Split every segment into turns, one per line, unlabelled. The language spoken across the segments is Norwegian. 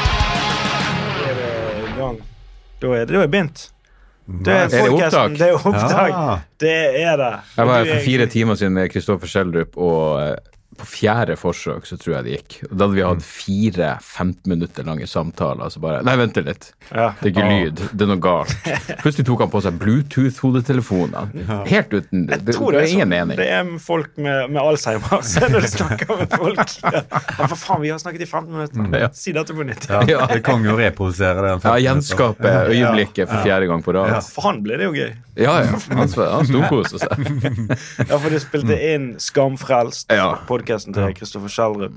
er det i gang. Da er det, da er det begynt. Da er,
Er det
podcasten-
opptak?
Det er opptak.
Ah.
Det er det.
Jeg var
Og du
her
er-
for fire timer siden med Kristoffer Schjelderup, og eh, på fjerde forsøk så tror jeg det gikk. Og da hadde vi hatt fire 15 minutter lange samtaler, så bare Nei, vent litt.
Ja.
Det er ikke lyd. Det er noe galt. Plutselig tok han på seg Bluetooth-hodetelefoner. Helt uten Det, det,
tror
det er
sånn-
ingen mening.
Det er folk med, med Alzheimer. Så når du snakker med folk ja. Ja, for faen, vi har snakket i 15 minutter.
Mm, Ja.
Si dette på nytt.
Ja.
Ja, det kan jo reprodusere det.
Ja, gjenskape øyeblikket for fjerde gang på rad.
For han blir det jo gøy.
Ja, ja. Han, han storkoser seg.
Ja, for de spilte inn Skamfrelst,
Mm. Ja. Mm.
podkasten til Kristoffer Schjelderup.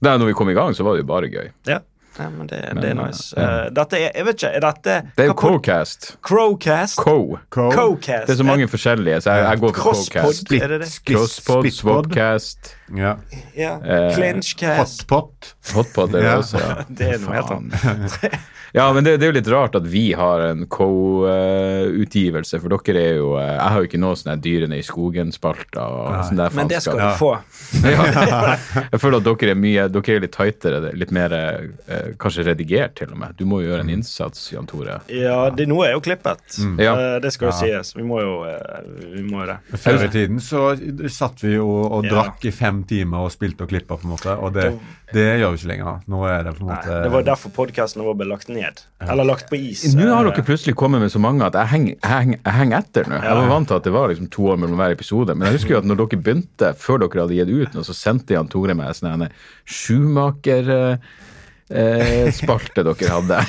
Nei, når vi kom i gang, så var det jo bare gøy.
Ja. Nei, men det, det er nice. Eh, Dette er Jeg vet ikke, er dette
Det er jo
hva pod-
Cocast.
Crowcast?
Co.
Cocast.
Det er så mange forskjellige, så jeg, jeg går for
Crosspod,
Cocast.
er det det?
Crosspod, Swapcast,
Ja.
Ja.
Eh,
Clinchcast.
Hotpot.
Hotpod er det
Ja.
også. Ja.
Det er noe helt
Faen.
annet.
Ja, men det, det er jo litt rart at vi har en co-utgivelse, for dere er jo eh, Jeg har jo ikke noe sånn her Dyrene i skogen-spalter og sånn der
Men det skal du
faenskap.
få.
Ja. Jeg føler at dere er mye Dere er litt tightere, litt mer eh, kanskje redigert, til og med. Du må jo gjøre en innsats, Jan Tore.
Ja, det, noe er jo klippet.
Ja.
Eh, Det skal jo sies. Vi må jo, eh, vi må jo det.
Før i tiden så satt vi jo og
Ja.
drakk i fem timer og spilte og klippa, på en måte. Og det, det gjør vi ikke lenger. Nå er det på en måte
Det var derfor podkasten vår ble lagt ned. Eller lagt på is.
Nå har
Eh,
dere plutselig kommet med så mange at jeg henger, jeg henger, jeg henger etter nå. Jeg var vant til at det var liksom to år mellom hver episode, men jeg husker jo at når dere begynte, før dere hadde gitt ut noe, så sendte Jan Tore meg sånn en sjumaker-spalte eh, dere hadde.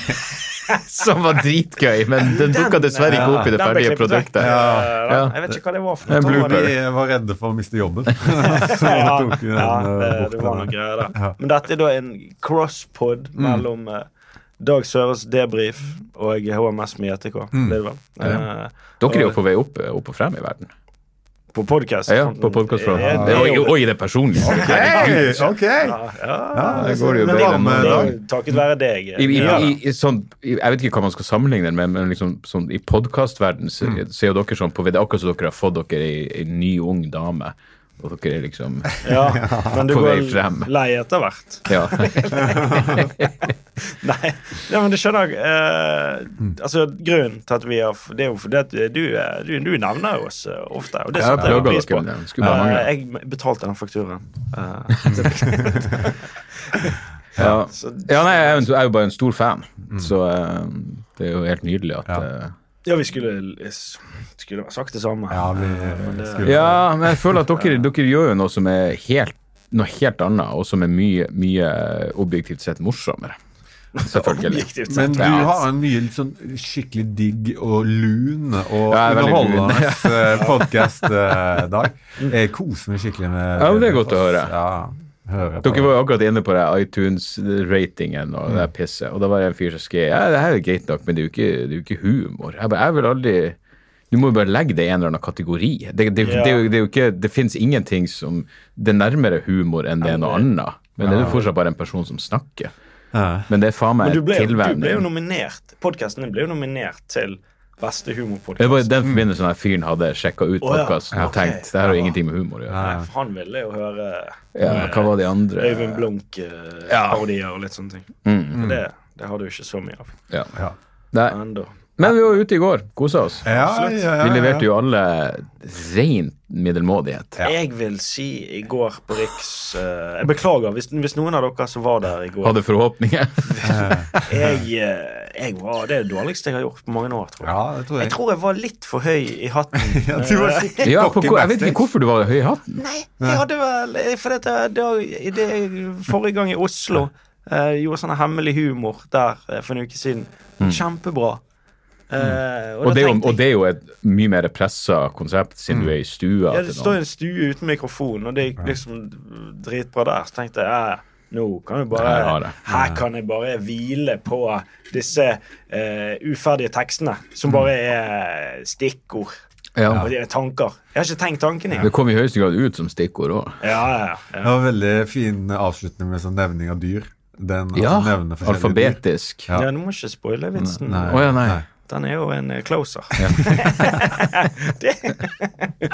Som var dritgøy, men den dukka dessverre ikke opp i det
den ble
ferdige
klippet vekk.
produktet.
Eh, da.
Ja.
Jeg vet ikke hva det var for
En
noe.
blooper.
Da var det-
Vi var redde for å miste jobben. så
Ja,
tok vi den
ja,
eh,
det,
bort
det var noe
den.
greier der. Men dette er da en crosspod
Mm.
mellom eh, Dag Søres debrief og HMS med JTK.
Mm.
Det er det vel? Eh,
Dere er jo på vei opp, opp og frem i verden.
På podkast.
Ja, på podkastfronten.
Det er
Og,
jo
og i det personlige.
Hey, ok!
Ja,
Ja,
det går jo
med
bedre enn
varme
det er
dag.
jo takket være deg.
Eh, I, i,
Ja.
i, i, sånn, i, jeg vet ikke hva man skal sammenligne det med, men liksom, sånn, i podkastverden så
Mm.
ser jo dere sånn på Det er akkurat som dere har fått dere ei, ei ny, ung dame. Og dere er liksom
Ja, men du
På
går
vei frem.
lei etter hvert.
Ja.
Nei, ja, men du skjønner eh,
Mm.
Altså, grunnen til at vi har f- Det er jo fordi at du, eh, du, du nevner jo oss eh, ofte, og det
Jeg
setter jeg
plager
pris på.
dere. Det skulle bare
Eh,
mangle.
jeg betalte den fakturaen. Eh,
ja. ja, nei, jeg er jo en- jeg er jo bare en stor fan, så eh, det er jo helt nydelig at eh,
Mm. ja, vi skulle, skulle sagt det samme.
Ja, vi skulle
Ja, men jeg føler at dere, dere gjør jo noe som er helt, noe helt annet, og som er mye, mye objektivt sett morsommere. Selvfølgelig.
Objektivt sett.
Men du
Ja.
har en mye litt sånn skikkelig digg og lun og
Ja, jeg er veldig lun.
underholdende eh, podkast-dag. Jeg koser meg skikkelig med
Ja, men det er godt å høre.
Ja, høre på.
Dere var jo akkurat inne på det iTunes-ratingen og det
Mm.
der pisset. Og da var det en fyr som skrev ja, det her er jo greit nok, men det er jo ikke, det er jo ikke humor. Jeg, bare, jeg vil aldri Du må jo bare legge det i en eller annen kategori. Det, det, det,
Ja.
er jo- det, er jo ikke, det finnes ingenting som Det er nærmere humor enn det er noe annet. Men det er jo fortsatt bare en person som snakker.
Ja.
Men det er faen meg
Men du ble, jo- du ble jo
tilvenning.
nominert. Podkasten din ble jo nominert til beste humorpodkast.
Det var i den forbindelse den fyren hadde sjekka ut
Å, ja.
podkasten og
Ok.
tenkt det her har jo ingenting med humor å gjøre.
Nei, for Han ville jo høre eh,
Ja, hva var de andre?
Øyvind Blunk-parodier og litt sånne ting. Men Det, det har du ikke så mye av
Ja.
Ja.
Mm. Nei.
ennå.
Men vi var ute i går, kosa oss.
Ja, ja, ja, ja.
Vi leverte jo alle ren middelmådighet.
Jeg vil si i går på Riks eh, Jeg beklager hvis, hvis noen av dere som var der i går
Hadde forhåpninger.
jeg, eh, jeg var, det er det dårligste jeg har gjort på mange år, tror jeg.
Ja, det tror jeg.
Jeg tror jeg var litt for høy i hatten.
Ja, du var skikkelig
Ja, på,
cocky
jeg vet
backstage.
ikke hvorfor du var høy i hatten.
Nei, jeg hadde vel eh, For dette, da, i det, forrige gang i Oslo eh, gjorde sånn hemmelig humor der eh, for en uke siden. Kjempebra. Eh,
Mm. Og
da
det, er jo,
tenkte jeg-
og det er jo et mye mer pressa konsept,
Mm.
siden du er i stua.
Ja,
til
det
noen.
står i en stue uten mikrofon, og det gikk liksom dritbra der. Så tenkte jeg ja, nå kan jeg bare,
Her har jeg det.
her kan jeg bare hvile på disse eh, uferdige tekstene, som bare er stikkord
Mm. Ja.
og de er tanker. Jeg har ikke tenkt tankene
Det
engang.
kom i høyeste grad ut som stikkord òg.
Ja, ja, ja.
Det var veldig fin avslutning med sånn nevning av dyr. Den,
Ja,
altså, nevne forskjellige dyr.
alfabetisk.
Ja.
ja, du må ikke spoile vitsen.
Å ja, nei.
Nei.
Den er jo en eh, closer. det. Eh,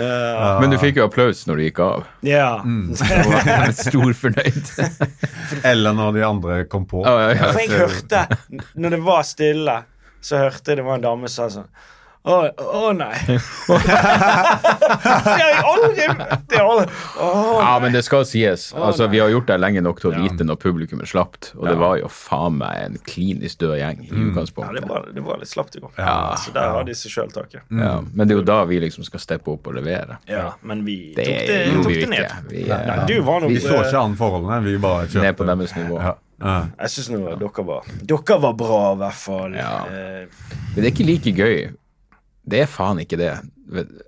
Ah.
Men du fikk jo applaus når du gikk av.
ja.
Mm. Stor fornøyd. Ah,
Eller når de andre kom på.
Ja, ja, ja.
For jeg hørte, n- når det var stille, så hørte jeg det var en dame som sa sånn Å, å nei. det har jeg aldri det har jeg aldri- Å,
ja, men det skal sies. Altså, Vi har gjort det lenge nok til å vite når publikum er slapt, og det var jo faen meg en klinisk død gjeng i
Mm.
ja, det,
utgangspunktet.
var, det var litt slapt i går. Så der har de seg sjøl taket.
Ja, men det er jo da vi liksom skal steppe opp og levere.
Mm. Ja, men vi
Det
tok det,
gjorde
tok
vi jo
det ned.
ikke. Vi er
Nei, du var nok
Vi så
eh,
ikke an forholdene, vi bare kjørte.
ned på deres nivå.
Ja. Ja.
Jeg syns nå dere var Dere var bra, i hvert fall.
Ja.
Eh,
Men det er ikke like gøy. Det er faen ikke det. Vet-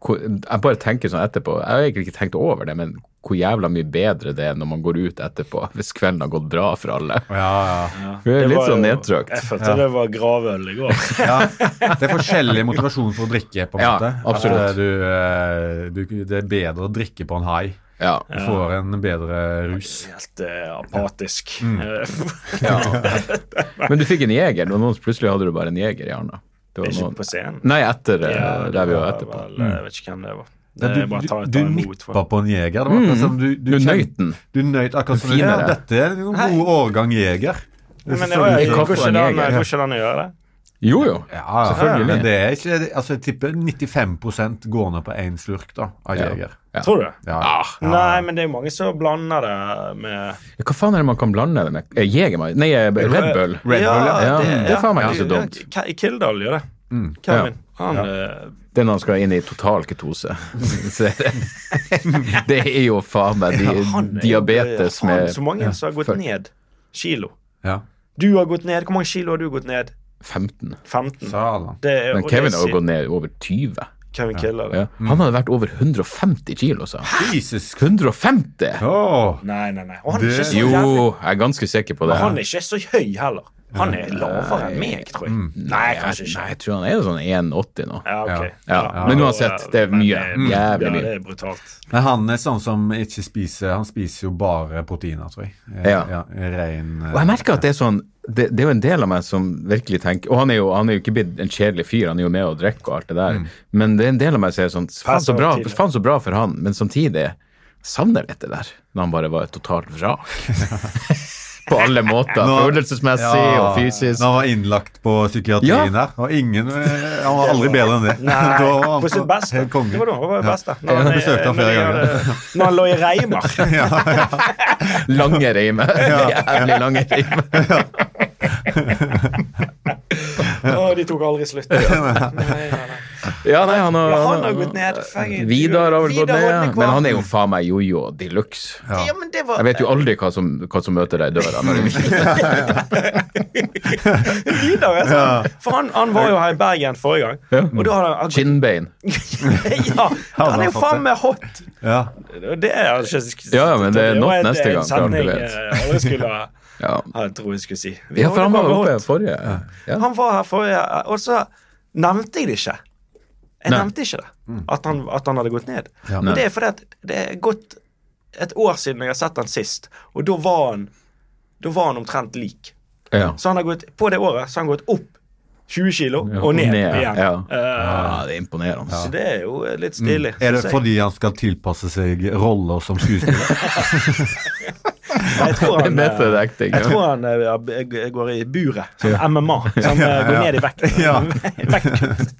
hvor- Jeg bare tenker sånn etterpå. Jeg har egentlig ikke tenkt over det, men hvor jævla mye bedre det er når man går ut etterpå, hvis kvelden har gått bra for alle.
Ja, ja.
Vi er litt
var
sånn
jo-
nedtrykt.
Jeg følte det var gravøl i går.
Det er forskjellig motivasjon for å drikke, på en
Ja,
måte.
absolutt.
At, eh, Du, du, det er bedre å drikke på en hai.
Ja.
Du får en bedre rus.
Helt eh, apatisk.
Mm.
Eh,
ja. Men du fikk en jeger. og noen plutselig hadde du bare en jeger i arna. Det var
ikke
noen...
på scenen.
Nei, etter eh,
Ja,
der vi var
det
etterpå.
vel, Jeg vet ikke hvem det var. Det
Ja,
er
du
bare å ta
du,
et
du
annet ord for
nippa på en jeger. Det var akkurat som du, du,
Mm. Du
kjente-
nøyt den.
Du nøyt akkurat som
Du
du
finer
ja,
det.
Dette er en god årgang jeger.
det. Men det
Selvfølgelig.
var,
I
går, ikke
kaffen,
den,
jeg-
går ikke den å gjøre det?
Jo, jo.
Ja, ja.
Selvfølgelig.
Men det er ikke, altså, jeg tipper 95 går ned på én slurk da, av
Ja. Ah.
jeger.
Ja.
Tror du? det?
Ja.
Nei, men det er mange som blander det med
Hva faen er det man kan blande det med? Eh, Jegermeister? Nei, eh, Red Bull.
Red Bull, ja.
Ja, det er faen meg ikke så
Ja,
dumt.
K- Kildahl gjør det. Kevin. Han eh,
Den han skal inn i total ketose. Så det- det er jo faen meg di
han er jo-
diabetes
faen,
med
Så mange som har gått
fuck.
ned kilo.
Ja.
Du har gått ned. Hvor mange kilo har du gått ned?
15.
15.
Salen.
Det er, Mm.
Men
og
Kevin
det
har
sier
jo gått ned over 20.
Kevin Kildahl.
Ja. Han hadde vært over 150 kilo, sa han.
Jesus.
150!
Åh.
Nei, nei, nei. Og han er
Det-
ikke så jævlig
Jo, jeg er ganske sikker på det.
Men han er ikke så høy heller. Han er lavere enn meg, tror jeg. Nei, kanskje
Nei,
ikke.
jeg tror han er sånn 180 nå.
Mm. Ja, ok.
Ja, men uansett, det er
Men eh,
mye. Jævlig
Ja,
mye.
det er brutalt.
Men han er sånn som ikke spiser Han spiser jo bare proteiner, tror jeg. Eh,
Ja.
Rein eh,
Og jeg merker at det er sånn det, det er jo en del av meg som virkelig tenker Og han er jo, han er jo ikke blitt en kjedelig fyr, han er jo med og drikker og alt det der, men det er en del av meg som er sånn Faen så bra,
Passiv-aktiv.
faen så bra for han, men samtidig savner litt det der, når han bare var et totalt vrak. På alle måter.
Nå-
Følelsesmessig og fysisk.
Når han var innlagt på
Ja.
psykiatrien her, og ingen eh, Han var aldri bedre enn det.
Nei,
Da var han
på sitt beste.
helt konge.
Det var da eh, han var det beste. Når
Jeg
han,
besøkte han
når
flere
de
ganger.
hadde- Når han lå i reimer.
Lange reimer. Jævlig lange reimer.
Å, de tok aldri slutt. Nei, nei, nei.
Ja, nei, han har,
Ja, han har gått ned. Fucking-
Vidar har vel gått
Vidar
ned,
Hodnekvam.
men han er jo faen meg jojo de luxe.
Ja, men det var
Jeg vet jo aldri hva som, hva som møter deg i døra. Når du-
Vidar, altså. For han, han var jo her i Bergen forrige gang.
Ja.
Og da hadde han
Kinnbein.
Ja, han er jo faen meg hot.
Ja.
Og Det er altså ikke
Ja, ja, men det er nok
var en-
neste gang,
En
for alt du
setning
vet.
jeg aldri skulle ha
Ja.
Jeg tror jeg skulle si.
Ja, for han var
bare
oppe
hot.
forrige. Ja.
Han var her forrige, og så nevnte jeg det ikke. Jeg
Nei.
nevnte ikke det, at han, at han hadde gått ned. Men
Nei.
det er fordi at det er gått et år siden jeg har sett han sist, og da var han, da var han omtrent lik.
Ja.
Så han har gått, på det året så har han gått opp 20 kilo og
og
ned,
ned,
igjen.
ja.
Eh,
ja, det er imponerende.
Så det er jo litt stilig.
Mm. Er det
synes jeg.
fordi han skal tilpasse seg roller som skuespiller?
jeg tror
Det er
han, eh,
method acting.
Jeg
Ja.
tror han eh, ja, b- g- går i buret, som MMA. Som eh, går ned i vekt.
Ja.
Vektkutt.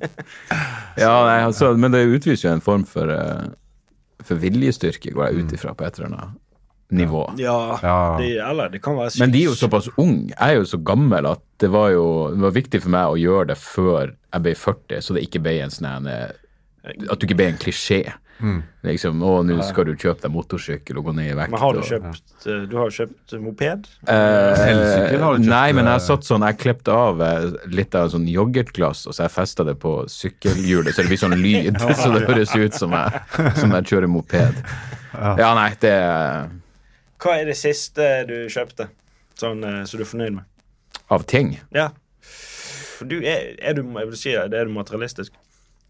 Ja, nei, altså, Mm. men det utviser jo en form for, eh, for viljestyrke, går jeg ut ifra, på et eller annet nivå.
Ja,
Ja.
Det, eller det kan være
Men de er jo såpass unge. Jeg er jo så gammel at det var jo det var viktig for meg å gjøre det før jeg ble 40, så det ikke ble en sånn en, eh, At du ikke ble en klisjé. Liksom, 'Å, nå skal du kjøpe deg motorsykkel og gå ned i vekt'.
Men har du
og-
kjøpt eh, Du har jo kjøpt moped?
Elsykkel har du kjøpt,
Eh, Nei, men
eh,
jeg satt sånn, jeg klippte av eh, litt av sånn yoghurtglass, og så jeg festet det på sykkelhjulet, så det blir sånn lyd, så det høres ut som jeg, som jeg kjører moped. Ja, nei, det er
Hva er det siste du kjøpte sånn, eh, som du er fornøyd med?
av ting.
Ja. For du er, er du, jeg vil si, det, er du materialistisk?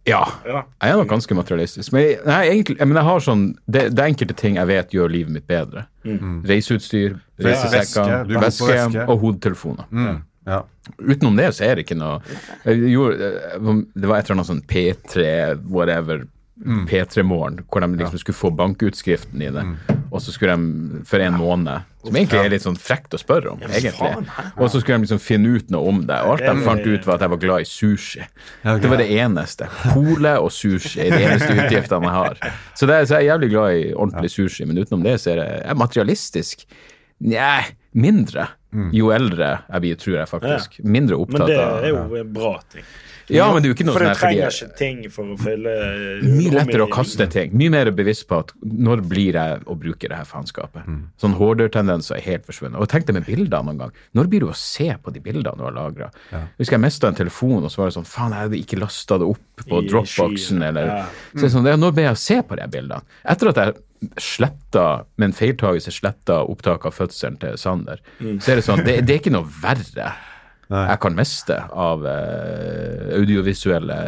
Ja,
Ja.
jeg er nok ganske materialistisk. Men jeg, nei, egentlig, men jeg har sånn, det, det er enkelte ting jeg vet gjør livet mitt bedre. Reiseutstyr,
Mm. Veske,
reisesekker,
du går på
veske
veske.
og hodetelefoner.
Mm. Ja.
Utenom det så er det ikke noe jeg gjorde, eh, Det var et eller annet sånn P3 whatever
Mm.
P3-morgen, hvor de liksom skulle få bankutskriften i det. Og så skulle de for en måned Som egentlig er litt sånn frekt å spørre om,
Ja, men faen,
egentlig.
hæ?
Og så skulle de liksom finne ut noe om det. Og alt
Ja, det-
de fant ut, var at jeg var glad i sushi.
Ja, ok.
Det var det eneste. Pole og sushi er de eneste utgiftene jeg har. Så, det, er- så jeg er jævlig glad i ordentlig sushi, men utenom det så er jeg jeg er materialistisk. Nja, mindre.
Mm.
Jo eldre jeg blir, tror jeg faktisk. Mindre
Men
opptatt
det
av
er jo en bra ting.
Ja, men det er jo ikke noe
For
sånn
du
her fordi
trenger ikke ting for å fylle eh,
Mye
rommet
lettere å
ditt.
kaste ting. Mye mer bevisst på at når blir jeg å bruke det her faenskapet. Sånn hoarder-tendenser er helt forsvunnet. Og tenk deg med bilder noen gang. Når blir du å se på de bildene du har lagra? Husker jeg mista en telefon, og så var det sånn Faen, jeg hadde ikke lasta det opp på
I
dropboxen,
skyen,
eller
ja.
Så det er sånn, ja, Når ble jeg å se på de bildene? Etter at jeg sletta, med en feiltagelse sletta opptak av fødselen til Sander,
Mm.
så er det sånn Det, det er ikke noe verre jeg kan miste av eh, audiovisuelle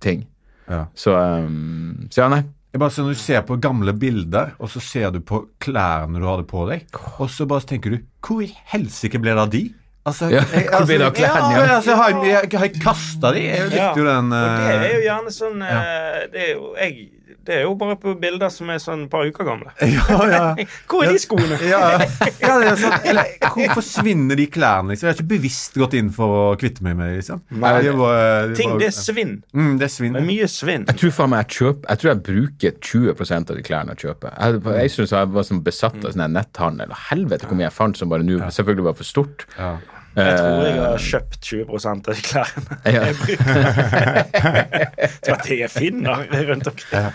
ting.
Ja.
Så, um, så ja, nei.
Jeg bare ser Når du ser på gamle bilder, og så ser du på klærne du hadde på deg, og så bare tenker du Hvor i helsike ble det av de? Altså,
Ja,
jeg,
hvor ble det av klærne,
Ja,
ja?
altså, har jeg, jeg, har jeg kasta de? Jeg
Ja,
likte jo den
Og det er
eh,
jo gjerne sånn eh, det, er jo, jeg, det er jo bare på bilder som er sånn et par uker gamle.
ja, ja.
Hvor er de skoene?
Ja, ja det er sånn, eller, Hvor forsvinner de klærne? Liksom? Jeg har ikke bevisst gått inn for å kvitte meg med dem. Liksom.
Nei.
Det er bare- det er
Ting,
bare-
det er svinn.
mm, det er svinn.
Det er mye svinn.
Jeg tror faen meg jeg kjøper Jeg tror jeg bruker 20 av de klærne jeg kjøper. Jeg, på en stund så jeg var sånn besatt av sånn her netthandel. og Helvete hvor mye jeg fant som bare nå selvfølgelig var for stort. Eh,
Ja.
Jeg tror jeg har kjøpt 20 av de klærne.
Ja.
Det er det jeg finner rundt omkring.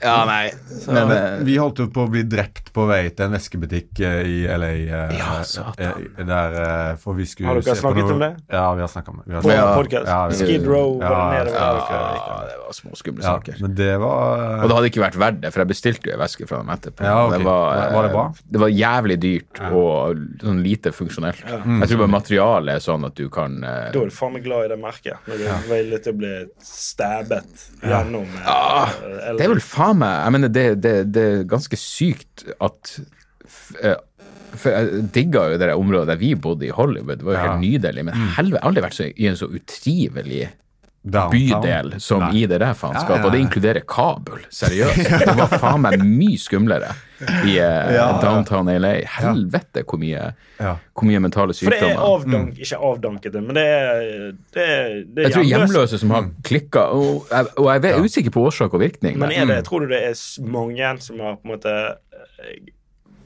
ja, nei.
Men,
Men, eh,
vi holdt jo på å bli drept på vei til en veskebutikk eh, i LA. eh,
Ja, satan.
eh, der, eh, for vi skulle
Har dere
se på
snakket
noe-
om det?
Ja, vi har snakket om det. Vi har
På
snakket-
podcast.
Ja, vi-
Skid Row var det
Ja,
nede.
ja, det var små skumle
ja,
saker.
men det var
Og det hadde ikke vært verdt det, for jeg bestilte jo ei veske fra dem etterpå.
Ja, ok.
det var, eh,
Var det bra?
Det var jævlig dyrt og sånn lite funksjonelt.
Mm.
Jeg tror bare materialet er sånn at du kan eh,
Da er du faen meg glad i det merket. Når du er villig til å bli stabbet gjennom eh, eller-
Ah, Det er vel faen meg Jeg mener, det, det, det er ganske sykt at f- eh, for Jeg digga jo det der området der vi bodde i Hollywood. Det var jo helt nydelig.
Mm.
Men helvete, jeg har aldri vært så, i en så utrivelig
eh, downtown.
bydel som
Nei.
i det der faenskapet.
Ja, ja, ja.
Og det inkluderer Kabul. Seriøst. Det var faen meg mye skumlere i eh,
Ja.
downtown LA. Helvete hvor mye,
Ja.
hvor mye mentale
For det er
sykdommer.
avdank, ikke avdankede, men det er, det er, det
Mm. Jeg
er
tror
hjemløst.
hjemløse som har klikka og, jeg- og jeg er usikker på årsak og virkning.
Men
men-
er det, tror du det er s- mange som har på en måte eh,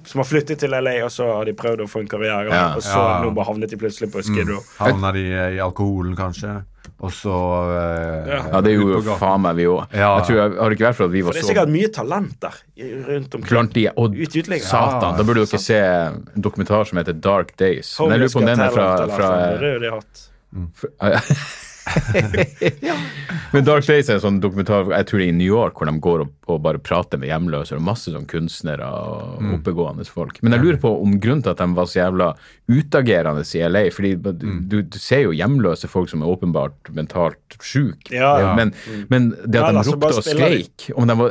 Som har flyttet til LA, og så har de prøvd å få en karriere,
Ja. Mm.
og så
Ja.
nå bare havnet de plutselig på Skid Row?
Havna de eh, i alkoholen, kanskje? Og så eh,
Ja.
Ja, det
ut
gjorde
på
jo
gaten.
faen meg vi òg.
Ja.
Jeg tror jeg, har det ikke vært for at vi
For
var
det er
så
sikkert mye talent der i- rundt omkring.
blant de Og
Ut i utlegget.
satan,
Ja,
da burde dere se en dokumentar som heter Dark Days. Men jeg lurer på om den er fra,
Homeless Got Talent,
fra,
eller sånn, Det er jo det jeg har hatt.
Men Dark Days er en sånn dokumentar jeg tror det er i New York hvor de går og, og bare prater med hjemløse og masse sånn kunstnere og
Mm.
oppegående folk. Men jeg lurer på om grunnen til at de var så jævla utagerende i LA fordi du,
Mm.
du, du ser jo hjemløse folk som er åpenbart mentalt syke,
Ja, ja.
Men, men det
Ja,
at
da,
de
så bare
ropte og
spiller de.
skreik om de var,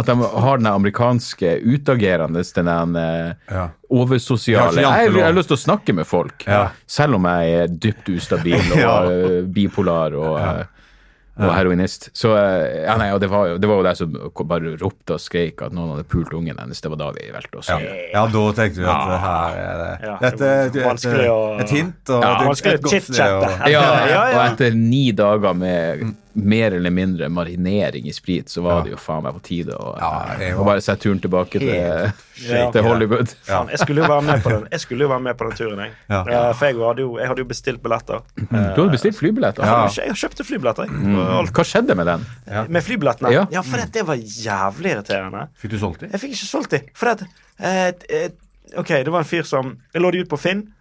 At de har den amerikanske utagerende, den der
Ja.
oversosiale
Ja,
jeg,
så
jeg har
jantelov.
lyst til å snakke med folk,
Ja.
selv om jeg er dypt ustabil og
Ja.
eh, bipolar og eh, og heroinist. Så eh, ja, nei, og det var jo det var jo der som bare ropte og skreik at noen hadde pult ungen hennes. Det var da vi velte oss.
Ja. ja, da tenkte vi at det her er det.
Ja,
Dette er et, et,
vanskelig å-
et hint og et-
vanskelig å
et godt sted å
Ja,
chit-chatte. Ja, ja, ja.
Og etter ni dager med mer eller mindre marinering i sprit, så var det jo faen meg på tide å, eh,
Ja, jeg
å
var-
bare sette turen tilbake til, eh,
Ja.
til Hollywood.
Faen, jeg skulle jo være med på den Jeg skulle jo være med på den turen, jeg.
Ja.
Eh, For jeg hadde, jo, jeg hadde jo bestilt billetter.
Du hadde bestilt flybilletter.
Jeg, hadde jo ikke, jeg kjøpte flybilletter, jeg. Og alt.
Hva skjedde med den?
Med flybillettene.
Ja.
Ja, for det, det var jævlig irriterende.
Fikk du solgt dem?
Jeg fikk ikke solgt de. For det, at, eh, eh, OK, det var en fyr som Jeg lå de ut på Finn,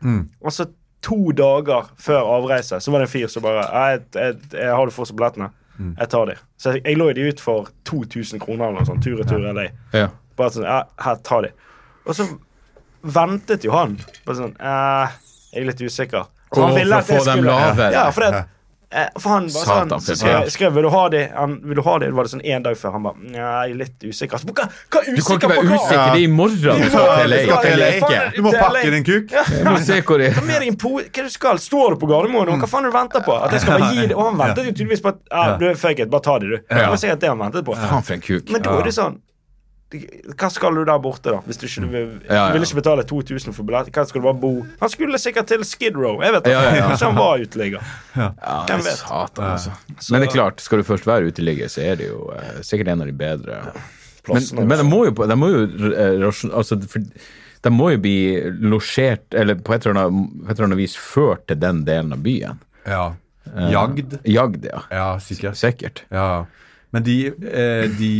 og så to dager før avreise så var det en fyr som bare Jeg, jeg, jeg har du fortsatt billettene. Jeg tar de. Så jeg, jeg lå de ut for 2000 kroner eller noe sånt. Tur-retur LA.
Ja.
Bare sånn Ja, her, ta de. Og så ventet jo han. Bare sånn eh, Jeg er litt usikker. Så
Å, for å få dem lavere.
Ja, for det Eh, For han var sånn,
Satan,
så
for
skrev,
faen.
skrev vil du ha det? Han, vil du ha det? det var det sånn en dag før. Han bare Nei, litt usikker. Så, hva, hva er
Du kan
usikker
ikke
på
være
hva?
usikker, det er i morgen du skal til LA.
skal til LA.
Faen,
Du må
til
pakke
LA.
din kuk.
Du må se hvor
Ta med deg en po Hva er det du skal? Står du på Gardermoen? Og hva faen er det du venter på? At jeg skal bare gi det? Og han ventet jo tydeligvis på at ja, du er fake it, bare ta det, du. Det var sikkert det han ventet på.
Faen, for en kuk.
Men da er det sånn hva skal du der borte, da? Hvis du ikke du vil,
Ja, ja.
vil ikke betale 2000 for billett? Hva skal du bare bo Han skulle sikkert til Skid Row. Jeg vet ikke.
Ja, ja, ja.
Kanskje han var uteligger.
Ja,
Hvem vet?
satan, altså. Men det er klart, skal du først være uteligger, så er det jo eh, sikkert en av de bedre
Plassene,
Men, men de må jo, på- de må jo eh, rasjon- altså, for, de må jo bli losjert, eller på et eller, annet, på et eller annet vis ført til den delen av byen.
Ja.
Eh.
Jagd.
Jagd, ja.
Ja, sikkert.
Sikkert.
Ja. Men de, eh, de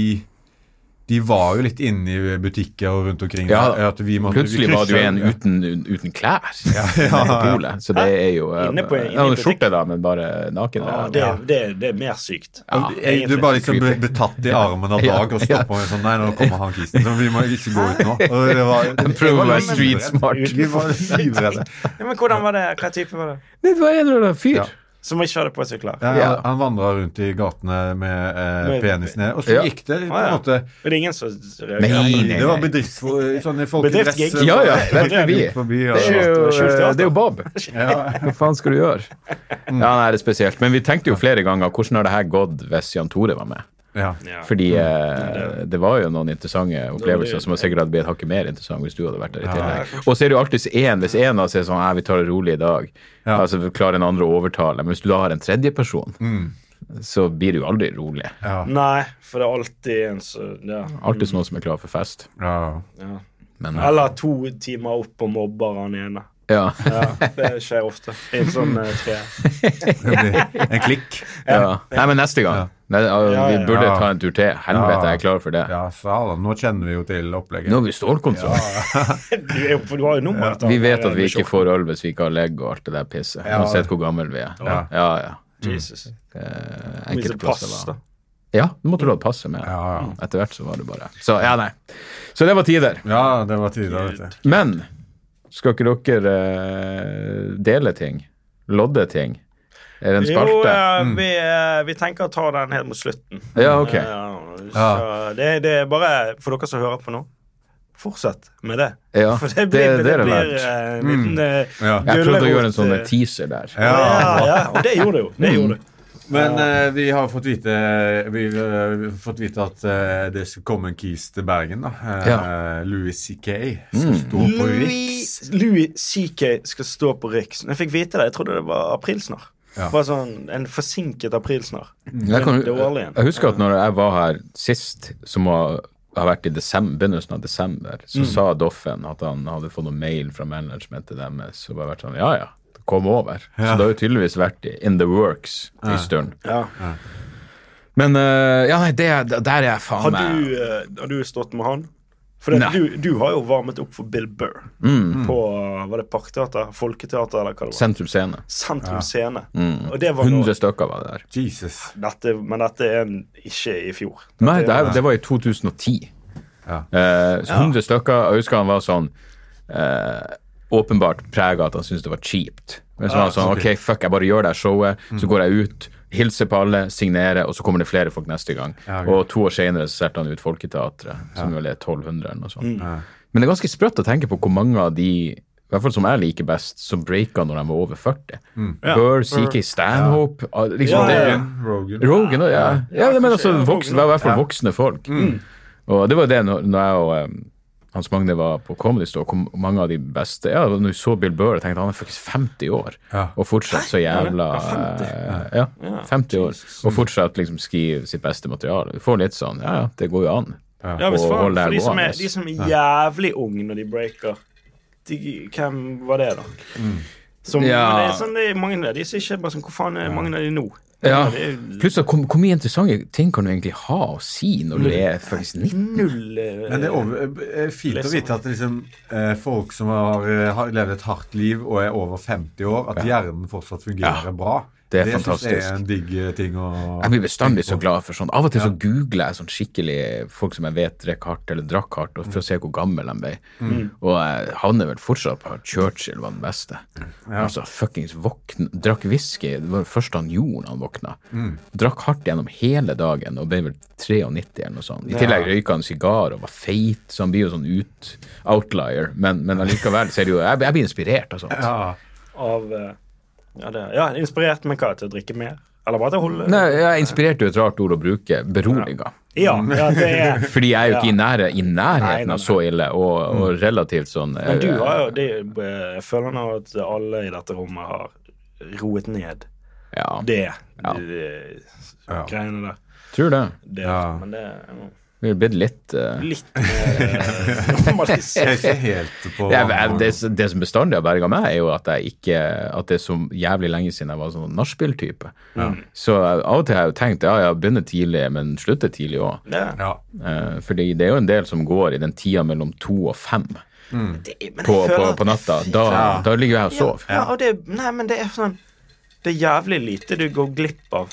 De var jo litt inne i butikker og rundt omkring.
Ja,
der, at vi måtte- vi
Plutselig var det jo
krysset-
en uten, uten klær på polet, så det er jo eh,
Inne på- inne i
Han hadde
butikken.
skjorte, da, men bare naken.
Ja,
Ja,
det, det, det er mer sykt.
Ja, jeg, du bare liksom ble, ble tatt i armen av
Ja,
Dag og
ja.
stoppa med sånn Nei, nå kommer han kisen. Så vi må ikke gå ut nå. Og det var,
Prøv å være
livredd.
street smart.
Vi var livredde.
Ja, men hvordan var det? Hva type var det?
Det var en eller annen fyr.
Ja.
Som ikke hadde på seg klær.
Ja,
Ja.
Han vandra rundt i gatene med eh,
Med-
penisen ned, og så
Ja.
gikk det på
Ah,
en
ja.
måte
Men det er ingen som
Nei,
reagerer.
nei, nei.
Det var bedrifts... Sånne folk i dress,
Bedriftsgig.
eh,
Ja, ja,
gikk
rett forbi.
forbi og,
Det er jo,
Skjult- skjult teater.
det er jo Bob. Hva faen skal du gjøre? Ja, nei, det er spesielt. Men vi tenkte jo flere ganger hvordan har det her gått hvis Jan Tore var med?
ja.
Ja.
Fordi eh, det var jo noen interessante opplevelser
det-
som sikkert hadde blitt hakket mer interessant hvis du hadde vært der i tillegg. Og så er det jo alltid én, hvis én av oss er sånn «Nei, vi tar det rolig i dag,
Ja.
altså klarer en andre å overtale. Men hvis du da har en tredje person, så blir det jo aldri rolig.
Nei, for det er alltid en som ja.
Alltid sånn. noen som er klar for fest.
Ja.
Men, eh,
Mm. Eller to timer opp og mobber han ene.
ja.
Ja, det skjer ofte. I en sånn eh, tre.
Det blir En klikk.
Ja. Nei, men neste gang. Nei,
Ja,
vi
ja.
burde
Ja.
ta en tur til. Helvete, jeg er klar for det.
Ja, salen. Nå kjenner vi jo til opplegget.
Nå har vi stålkontroll.
Du, er jo- for du har jo nummer.
Vi vet at vi ikke får øl hvis vi ikke har legg og alt det der pisset.
Ja.
Uansett hvor gammel vi er. Ja, ja. Mm.
Jesus.
Eh,
Hvis
enkelte
det pass,
plasser
da.
var Ja, nå måtte du ha passe med.
Ja, ja.
Etter hvert så var det bare Så ja, nei. Så det var tider.
Ja, det var tider, vet du.
Men skal ikke dere eh, dele ting? Lodde ting? Er det en
Jo,
spalte?
eh, vi, eh, vi tenker å ta den helt mot slutten.
Ja, ok.
Eh, så det, det er bare for dere som hører på nå. Fortsett med det.
Ja,
for
det-
det blir,
det
det
er det
blir
verdt. Mm.
eh, en liten eh,
Ja.
Jeg prøvde å gjøre en
gulrot,
sånn
eh,
teaser der.
Ja.
Ja, ja, og det gjorde det jo. Det gjorde det.
Men eh, vi har fått vite, vi, har fått vite at eh, det skal komme en kis til Bergen. da. Eh,
Ja. Mm.
Louis C.K. skal stå på Riks.
Louis, Louis CK skal stå på Riks. Når jeg fikk vite det, jeg trodde det var aprilsnarr.
Ja.
Bare sånn en forsinket aprilsnarr.
Jeg, kan,
dårlig igjen.
jeg husker at når jeg var her sist, som har, har vært i desember, begynnelsen av desember,
Mm.
så sa Doffen at han hadde fått noen mail fra managementet deres og bare vært sånn Ja, ja, kom over. Så det har jo tydeligvis vært i- in the works en stund.
Ja.
Men eh, ja, nei, det, der er jeg faen
Har
meg
du, eh, har du stått med han? For det,
Nei. Mm.
du, du har jo varmet opp for Bill Burr på eh, var det Parkteater, Folketeater eller hva det var.
Sentrum Scene.
Sentrum Scene.
Mm.
Og det var nå
100 stykker var det der.
Jesus.
dette, Men dette er en, ikke i fjor.
Nei, det, her- det var i 2010.
Ja.
Eh, så 100 stykker. og Jeg husker han var sånn eh, åpenbart prega at han syntes det var kjipt. Men så var han sånn OK, fuck, jeg bare gjør det her showet, så går jeg ut, hilser på alle, signerer, og så kommer det flere folk neste gang.
ok.
Og to år senere så solgte han ut Folketeatret, som vel er 1200 eller noe sånt. Men det er ganske sprøtt å tenke på hvor mange av de i hvert fall som jeg liker best, som breaka når de var over 40. Burr, CK, Stanhope ah, liksom,
Ja,
det-
ja, ja.
Rogan.
Rogan, ja. ja. Mm. ja, men altså,
ja,
voksne, det var i hvert fall voksne folk. Og det var det når, når jeg og um, Hans Magne var på Comedy Store, kom mange av de beste Ja, når du så Bill Burr, jeg tenkte han er faktisk 50 år
Ja.
og fortsatt så jævla eh, Ja, 50 år. Og fortsatt liksom skrive sitt beste materiale. Du får litt sånn Ja, ja, det går jo an.
Ja, hvis
Og
faen,
hold det
for de som,
gående.
er, de som er jævlig unge når de breaker de, Hvem var det, da? Som,
Mm. Ja.
det er sånn, det er mange av de som ikke er bare sånn Hvor faen er mange av de nå?
Ja.
Det er
Plutselig, hvor hvor mye interessante ting kan du egentlig ha å si når du er faktisk 90?
null eh,
Men det er over, eh, fint å
Liksom.
vite at liksom, eh, folk som har, eh, har levd et hardt liv og er over 50 år, at hjernen fortsatt fungerer bra.
Det er
synes jeg
fantastisk.
er en digg eh, ting å
Jeg blir bestandig så glad for sånn. Av og til så googler jeg sånn skikkelig folk som jeg vet drikker hardt eller drakk hardt, og for å se hvor gammel de ble. Og jeg havner vel fortsatt på at Churchill var den beste. Altså, fuckings våkn... Drakk whisky, det var det første han gjorde når han våkna. Drakk hardt gjennom hele dagen og ble vel 93 eller noe sånt. I tillegg røyka han sigar og var feit, så han blir jo sånn ut, outlier, men, men allikevel så er det jo Jeg, jeg blir inspirert av sånt.
Ja.
av eh, ja, det, ja, inspirert, men hva? Til å drikke mer? Eller bare til å holde
Nei, jeg er inspirert er et rart ord å bruke. Beroliga.
Ja,
Mm.
ja, det er
Fordi jeg er jo ikke i, nære, i
Nei,
nærheten
nei, nei.
av så ille, og, og relativt sånn
Men du
eh,
har jo det, Jeg føler nå at alle i dette rommet har roet ned
ja,
det.
Ja.
det-
Ja.
Greiene der.
Tror det.
Det,
Ja.
Men det er jo
Vi har blitt litt eh,
litt mer eh, normalisert.
Jeg er ikke helt på
jeg, jeg, det, det som bestandig har berga meg, er jo at jeg ikke At det er så jævlig lenge siden jeg var sånn nachspiel-type. Så jeg- av og til har jeg jo tenkt ja, ja, begynner tidlig, men slutter tidlig òg.
Det,
Ja.
Eh, fordi det er jo en del som går i den tida mellom to og fem
det, men jeg
på, på,
føler at-
på natta. Da, da ligger jeg og sover.
Ja, og det, nei, men det er sånn Det er jævlig lite du går glipp av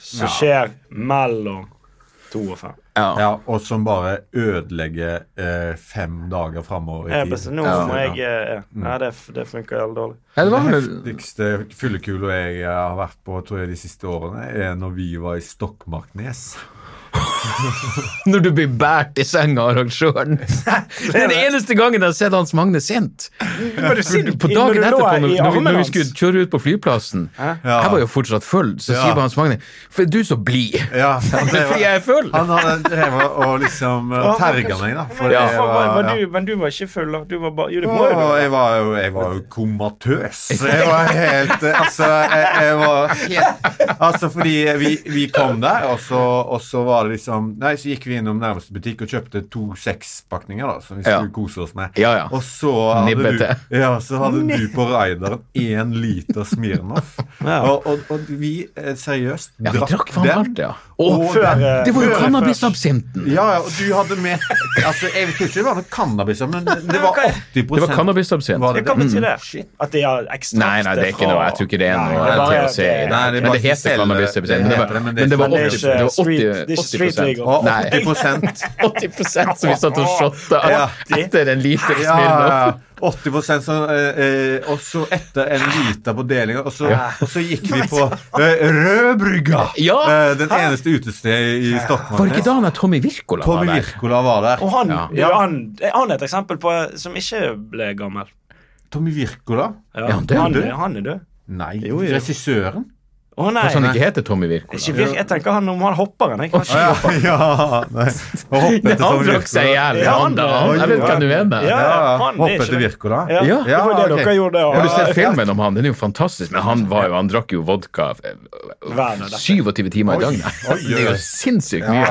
som skjer mellom to og fem.
Ja.
Ja, og som bare ødelegger eh, fem dager framover i
Jeg,
tid.
bare sånn, nå må jeg eh, Nei, det, det funker jævlig dårlig.
Ja, det
Den
var vel
heftigste fyllekula jeg har vært på tror jeg, de siste årene, er når vi var i Stokmarknes.
når du blir båret i senga av arrangøren. Det er den eneste gangen jeg har sett Hans Magne sint. På
Når du
dagen
lå
etterpå, når,
i
når, vi,
armen
når vi
hans.
skulle kjøre ut på flyplassen, jeg var jo fortsatt full, så
Ja.
sier bare Hans Magne For er du så blid?
Ja, han, drev,
Fordi jeg er full?
han hadde drevet og liksom eh,
Og han var
terga
kanskje-
meg, da. For
Ja,
jeg
for, var,
var,
var
ja.
du, men du var ikke full, da? Du var bare Jo, det må jo
Og
du.
jeg var jo, jeg var jo komatøs. Jeg var helt eh, Altså, jeg, jeg var Altså, fordi vi, vi kom der, og så, og så var det liksom Nei, så gikk vi innom nærmeste butikk og kjøpte to sekspakninger, da, som vi
Ja.
skulle kose oss med.
Ja, ja.
Og så hadde,
Nibbete.
du, ja, så hadde du på rideren én liter Smirnoff. Og, og, og vi eh, seriøst
Ja, vi drakk faen
den.
alt, ja. Og
Og
Før,
den.
eh,
det var jo
før-
cannabisabsinten.
Ja, ja, og du hadde med altså, Jeg vet ikke om det var noe cannabis, men det var 80
Det var cannabisabsint.
Var Mm.
før- Hva betyr det?
Shit.
Mm. At det er ekstrakt
Nei, nei, det er ikke noe. Jeg tror ikke det er
Nei,
noe
det er bare-
THC. i det.
Nei, det er
Men
bare
det heter
selve-
cannabisabsint.
det
Men det
heter det,
var-
men det er
men det var
ikke-
80
det er
det
ikke
var 80
street- det er ikke street legal.
Og
Nei.
80
80 som vi satt og shotta
Ja.
etter en liter
ja, ja,
Smirnoff.
ja. 80 så, eh, eh, Og så etter en liter på delinga, og, så- og så gikk vi på eh, Rødbrygga!
Ja.
Eh, den eneste utestedet i Stockholm.
Var det ikke da han der Tommy Wirkola var
Tommy
der?
Wirkola var der.
Og han,
Ja.
ja. han, han er et eksempel på eh, som ikke ble gammel.
Tommy Wirkola?
Ja, han døde.
han, er- han er død.
Nei,
Jo, jo.
regissøren?
Å nei.
Hvis han sånn ikke heter Tommy Wirkola.
Ikke virk, jeg tenker han om han hopper han. Jeg kan ikke
Ja, ja, nei. Og hoppet etter
Han
Tommy
drakk seg i
Wirkola.
hjel.
Ja,
Han, da.
han-
Jeg vet hva du mener.
Ja,
Ja,
han er
hoppet
ikke
etter
det.
Wirkola.
Ja, det var det
ok.
dere gjorde.
Har du
Ja.
sett filmen om han? Den er jo fantastisk. Men han, var jo, han drakk jo vodka eh,
Verden er dette.
27 timer i døgnet.
oi, oi.
Det er jo sinnssykt
Ja.
mye.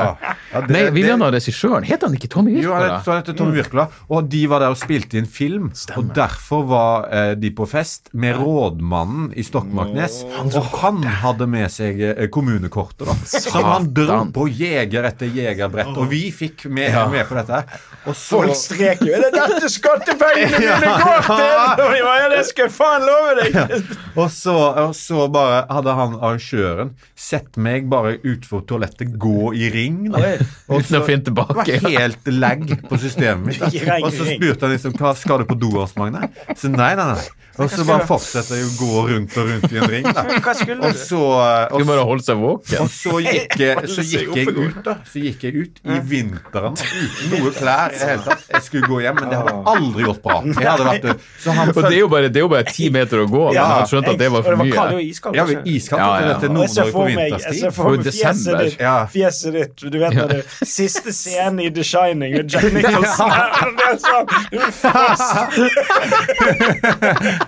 Ja, det-
Nei,
det-
William og regissøren, het han ikke Tommy
Jo, han
Wirkola?
het- så han heter Tommy Wirkola, og de var der og spilte inn film. Og derfor var eh, de på fest med rådmannen i Stokmarknes. Og han hadde med seg eh, kommunekortet, da. Så han dro
Satan.
på jeger etter jegerbrett, og vi fikk med, med på dette. her. Og så
Folk strek jo. Er det dette skattepengene mine går til?! Og de bare, ja, det skal jeg faen love deg!
Og så, og så bare hadde han arrangøren sett meg bare utfor toalettet gå i ring. Da. Og
Uten å finne tilbake,
Det var helt lag på systemet mitt.
I ring,
Og så
i ring.
spurte han liksom hva skal du på do, Hans Magne? Så nei, nei, nei. Og så bare fortsetter de å gå rundt og rundt i en ring. da.
Hva skulle
Og
du?
så, og,
Skal bare holde seg våken.
og så, gikk, jeg- så gikk jeg ut da Så gikk jeg ut i vinteren uten noe klær. i det hele tatt Jeg skulle gå hjem, men det hadde
Ah.
aldri gått bra. Jeg hadde vært, så
Og
han
det er
følte
jo bare, det er jo bare ti meter å gå. men
Ja.
han skjønte at det var
Og
for
Det var kald
mye.
og iskald.
Jeg var
ikke?
iskald
Ja, ja, ja.
til dette
Og jeg ser
Nord-Norge på
for meg, jeg ser
vinterstid.
Og
for
i
meg fjeset
desember.
ditt.
Ja.
Fjeset ditt. Du vet når det siste scenen i The Shining med Jack Nicholson Det er sånn, du er fast.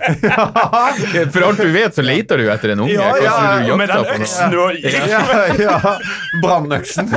For alt du vet, så leter du etter en unge.
Ja,
Kanskje
ja,
du
ja. Med
jakter
den
på noe.
øksen du har
Ja, ja. Brannøksen.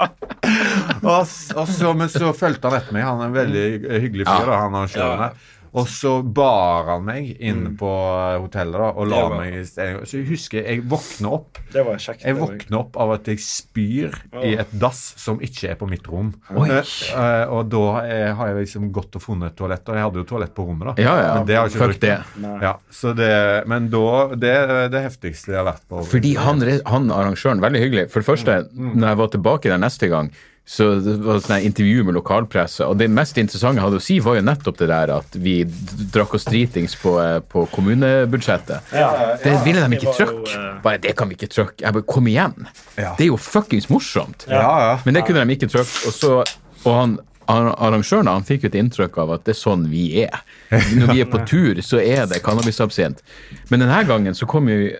og, s- og så, men så fulgte han etter meg. Han er en veldig hy- hyggelig fyr. da, han arrangøren her. Og så bar han meg inn
Mm.
på eh, hotellet da, og la
Det var-
meg i stedet. Så jeg husker jeg våkner opp
Det var kjekt.
Jeg våkner opp av at jeg spyr i et dass som ikke er på mitt rom. Eh, eh, og da eh, har jeg liksom gått og funnet et toalett. Og jeg hadde jo toalett på rommet, da.
Ja, ja.
Men det har jeg ikke
Fuck
brukt.
det.
Ja, så det, men da Det er det heftigste jeg har vært på.
Fordi han, re- han arrangøren, veldig hyggelig. For det første,
Mm.
når jeg var tilbake der neste gang, så det var det sånn her intervju med lokalpresse, og det mest interessante jeg hadde å si, var jo nettopp det der at vi d- drakk oss dritings på, eh, på kommunebudsjettet. Det ville de ikke
Det var jo,
trykke.
eh,
Bare, det kan vi ikke trykke. Jeg bare, kom igjen.
Ja.
Det er jo fuckings morsomt.
Ja, ja.
Men det kunne de ikke trykke. Og, så, og han, han, arrangøren han fikk jo et inntrykk av at det er sånn vi er. Når vi er på tur, så er det cannabisabsint. Men denne gangen så kom jo,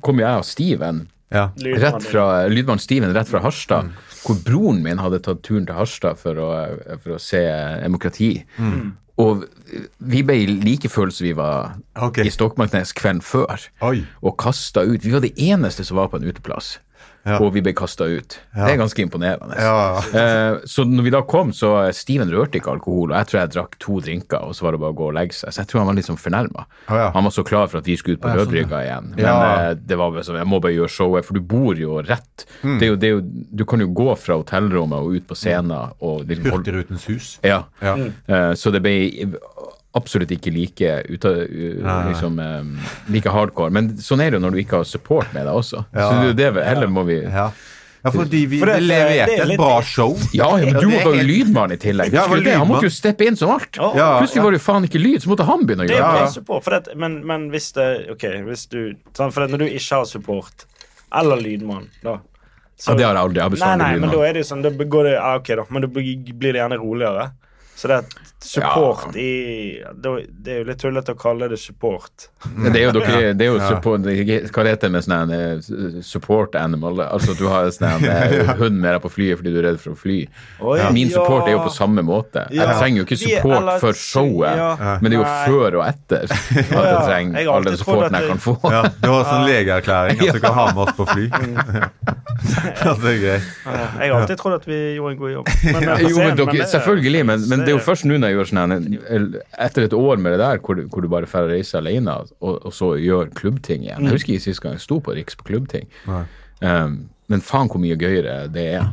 kom jo jeg og Steven
Ja.
rett fra, lydmann Steven rett fra Harstad,
Mm.
hvor broren min hadde tatt turen til Harstad for å, for å se demokrati.
Mm.
Og vi ble like fulle som vi var
Ok.
i Stokmarknes kvelden før,
Oi.
og kasta ut. Vi var de eneste som var på en uteplass, og vi ble kasta ut. Det er ganske imponerende.
Ja.
Eh, så når vi da kom, så eh, Steven rørte ikke alkohol, og jeg tror jeg drakk to drinker, og så var det bare å gå og legge seg. Så jeg tror han var litt sånn fornærma.
Å, ja.
Han var så klar for at vi skulle ut på Rødbrygga igjen. Men
Ja.
eh, det var bare sånn, jeg må bare gjøre showet, for du bor jo rett.
Mm.
Det er jo, det er jo, du kan jo gå fra hotellrommet og ut på scenen og liksom holde
Hurtigrutens hus.
ja.
Ja.
Eh, Så det ble absolutt ikke like, ut av, u- liksom, eh, like hardcore. Men sånn er det jo når du ikke har support med deg også. Så det er jo det vi- heller må vi
Ja. ja, fordi vi
For det-
vi leverte
det er
et
litt-
bra show.
Ja, ja, men
Ja,
du
det er
var jo
helt-
lydmann i tillegg.
Ja, jeg var
Husker du det? Han måtte
lydmann.
jo steppe inn som alt.
Ja,
Plutselig var det jo faen ikke lyd, så måtte han begynne å
Det
gjøre det.
passer på. For det, men, men hvis det OK, hvis du sant, For det, når du ikke har support, eller lydmann, da så,
Ja, det har jeg aldri. Jeg har
Nei,
bestandig
nei, men da
lydmann.
er det jo sånn, da går det ja, OK, da, men da blir det gjerne roligere. Så det er support i da- Det er jo litt tullete å kalle det support.
Det er jo, dere, det er jo support, hva det heter det med sånn en eh, support animal? Altså at du har sånn en eh, hund med deg på flyet fordi du er redd for å fly.
Oi, ja.
Min support er jo på samme måte. Jeg
Ja.
trenger jo ikke
Vi er
support
alle-
for showet,
Ja.
men det er jo
Nei.
før og etter at jeg
Ja. Jeg
trenger
har
all den
alltid trodd at
supporten jeg
det-
kan få.
Ja, Mm. det var sånn legeerklæring at du kan ha med oss på fly. Ja, det er greit.
Jeg har alltid trodd at vi gjorde en god jobb. Men, eh,
Jo, men
men
dere,
det-
selvfølgelig, men, men det er jo
det-
først nå når jeg gjør sånn her Etter et år med det der, hvor, du- hvor du bare drar og reiser alene, og, og så gjør klubbting igjen.
Mm.
Jeg husker ikke sist gang jeg sto på Riks på klubbting. Um, men faen hvor mye gøyere det er,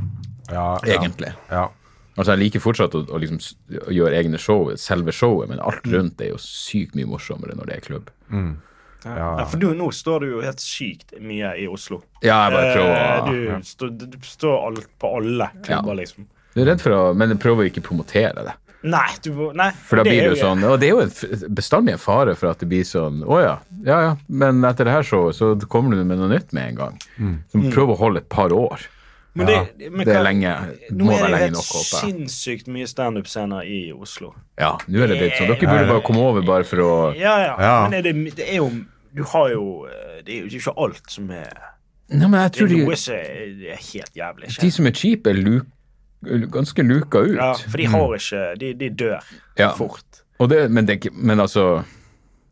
Ja, ja,
egentlig.
ja.
Altså, jeg liker fortsatt å, å, liksom, s- å gjøre egne show, selve showet, men
Mm.
alt rundt er jo sykt mye morsommere når det er klubb.
Ja, for du, nå står du jo helt sykt mye i Oslo.
Ja, jeg bare
Eh,
prøver å
Du, står- du står alt på alle klubber, liksom.
Jeg er redd for å Men jeg prøver å ikke promotere det.
Nei, du må- nei,
For da
er
blir det jo
jo-
sånn, og det er jo en f- bestandig en fare for at det blir sånn Å ja, ja ja, men etter det her showet så kommer du med noe nytt med en gang.
Mm.
Så prøv å holde et par år.
Men det, men
Det er
hva-
lenge. Det
Nå
må være
er det
lenge
helt
nok, håper jeg.
sinnssykt mye standup-scener i Oslo.
Ja, nå er det blitt sånn. Dere burde bare komme over bare for å
Ja, ja,
Ja.
men er det, det er jo Du har jo eh, Det er jo ikke alt som er
Nei, men jeg
Det
tror
er
de,
noe som er det er helt jævlig.
de
kjent.
som er cheap, er lu, ganske luka
Ja,
ut.
for de har ikke De, de dør
Ja.
fort.
Og det, men, det, er ikke- men altså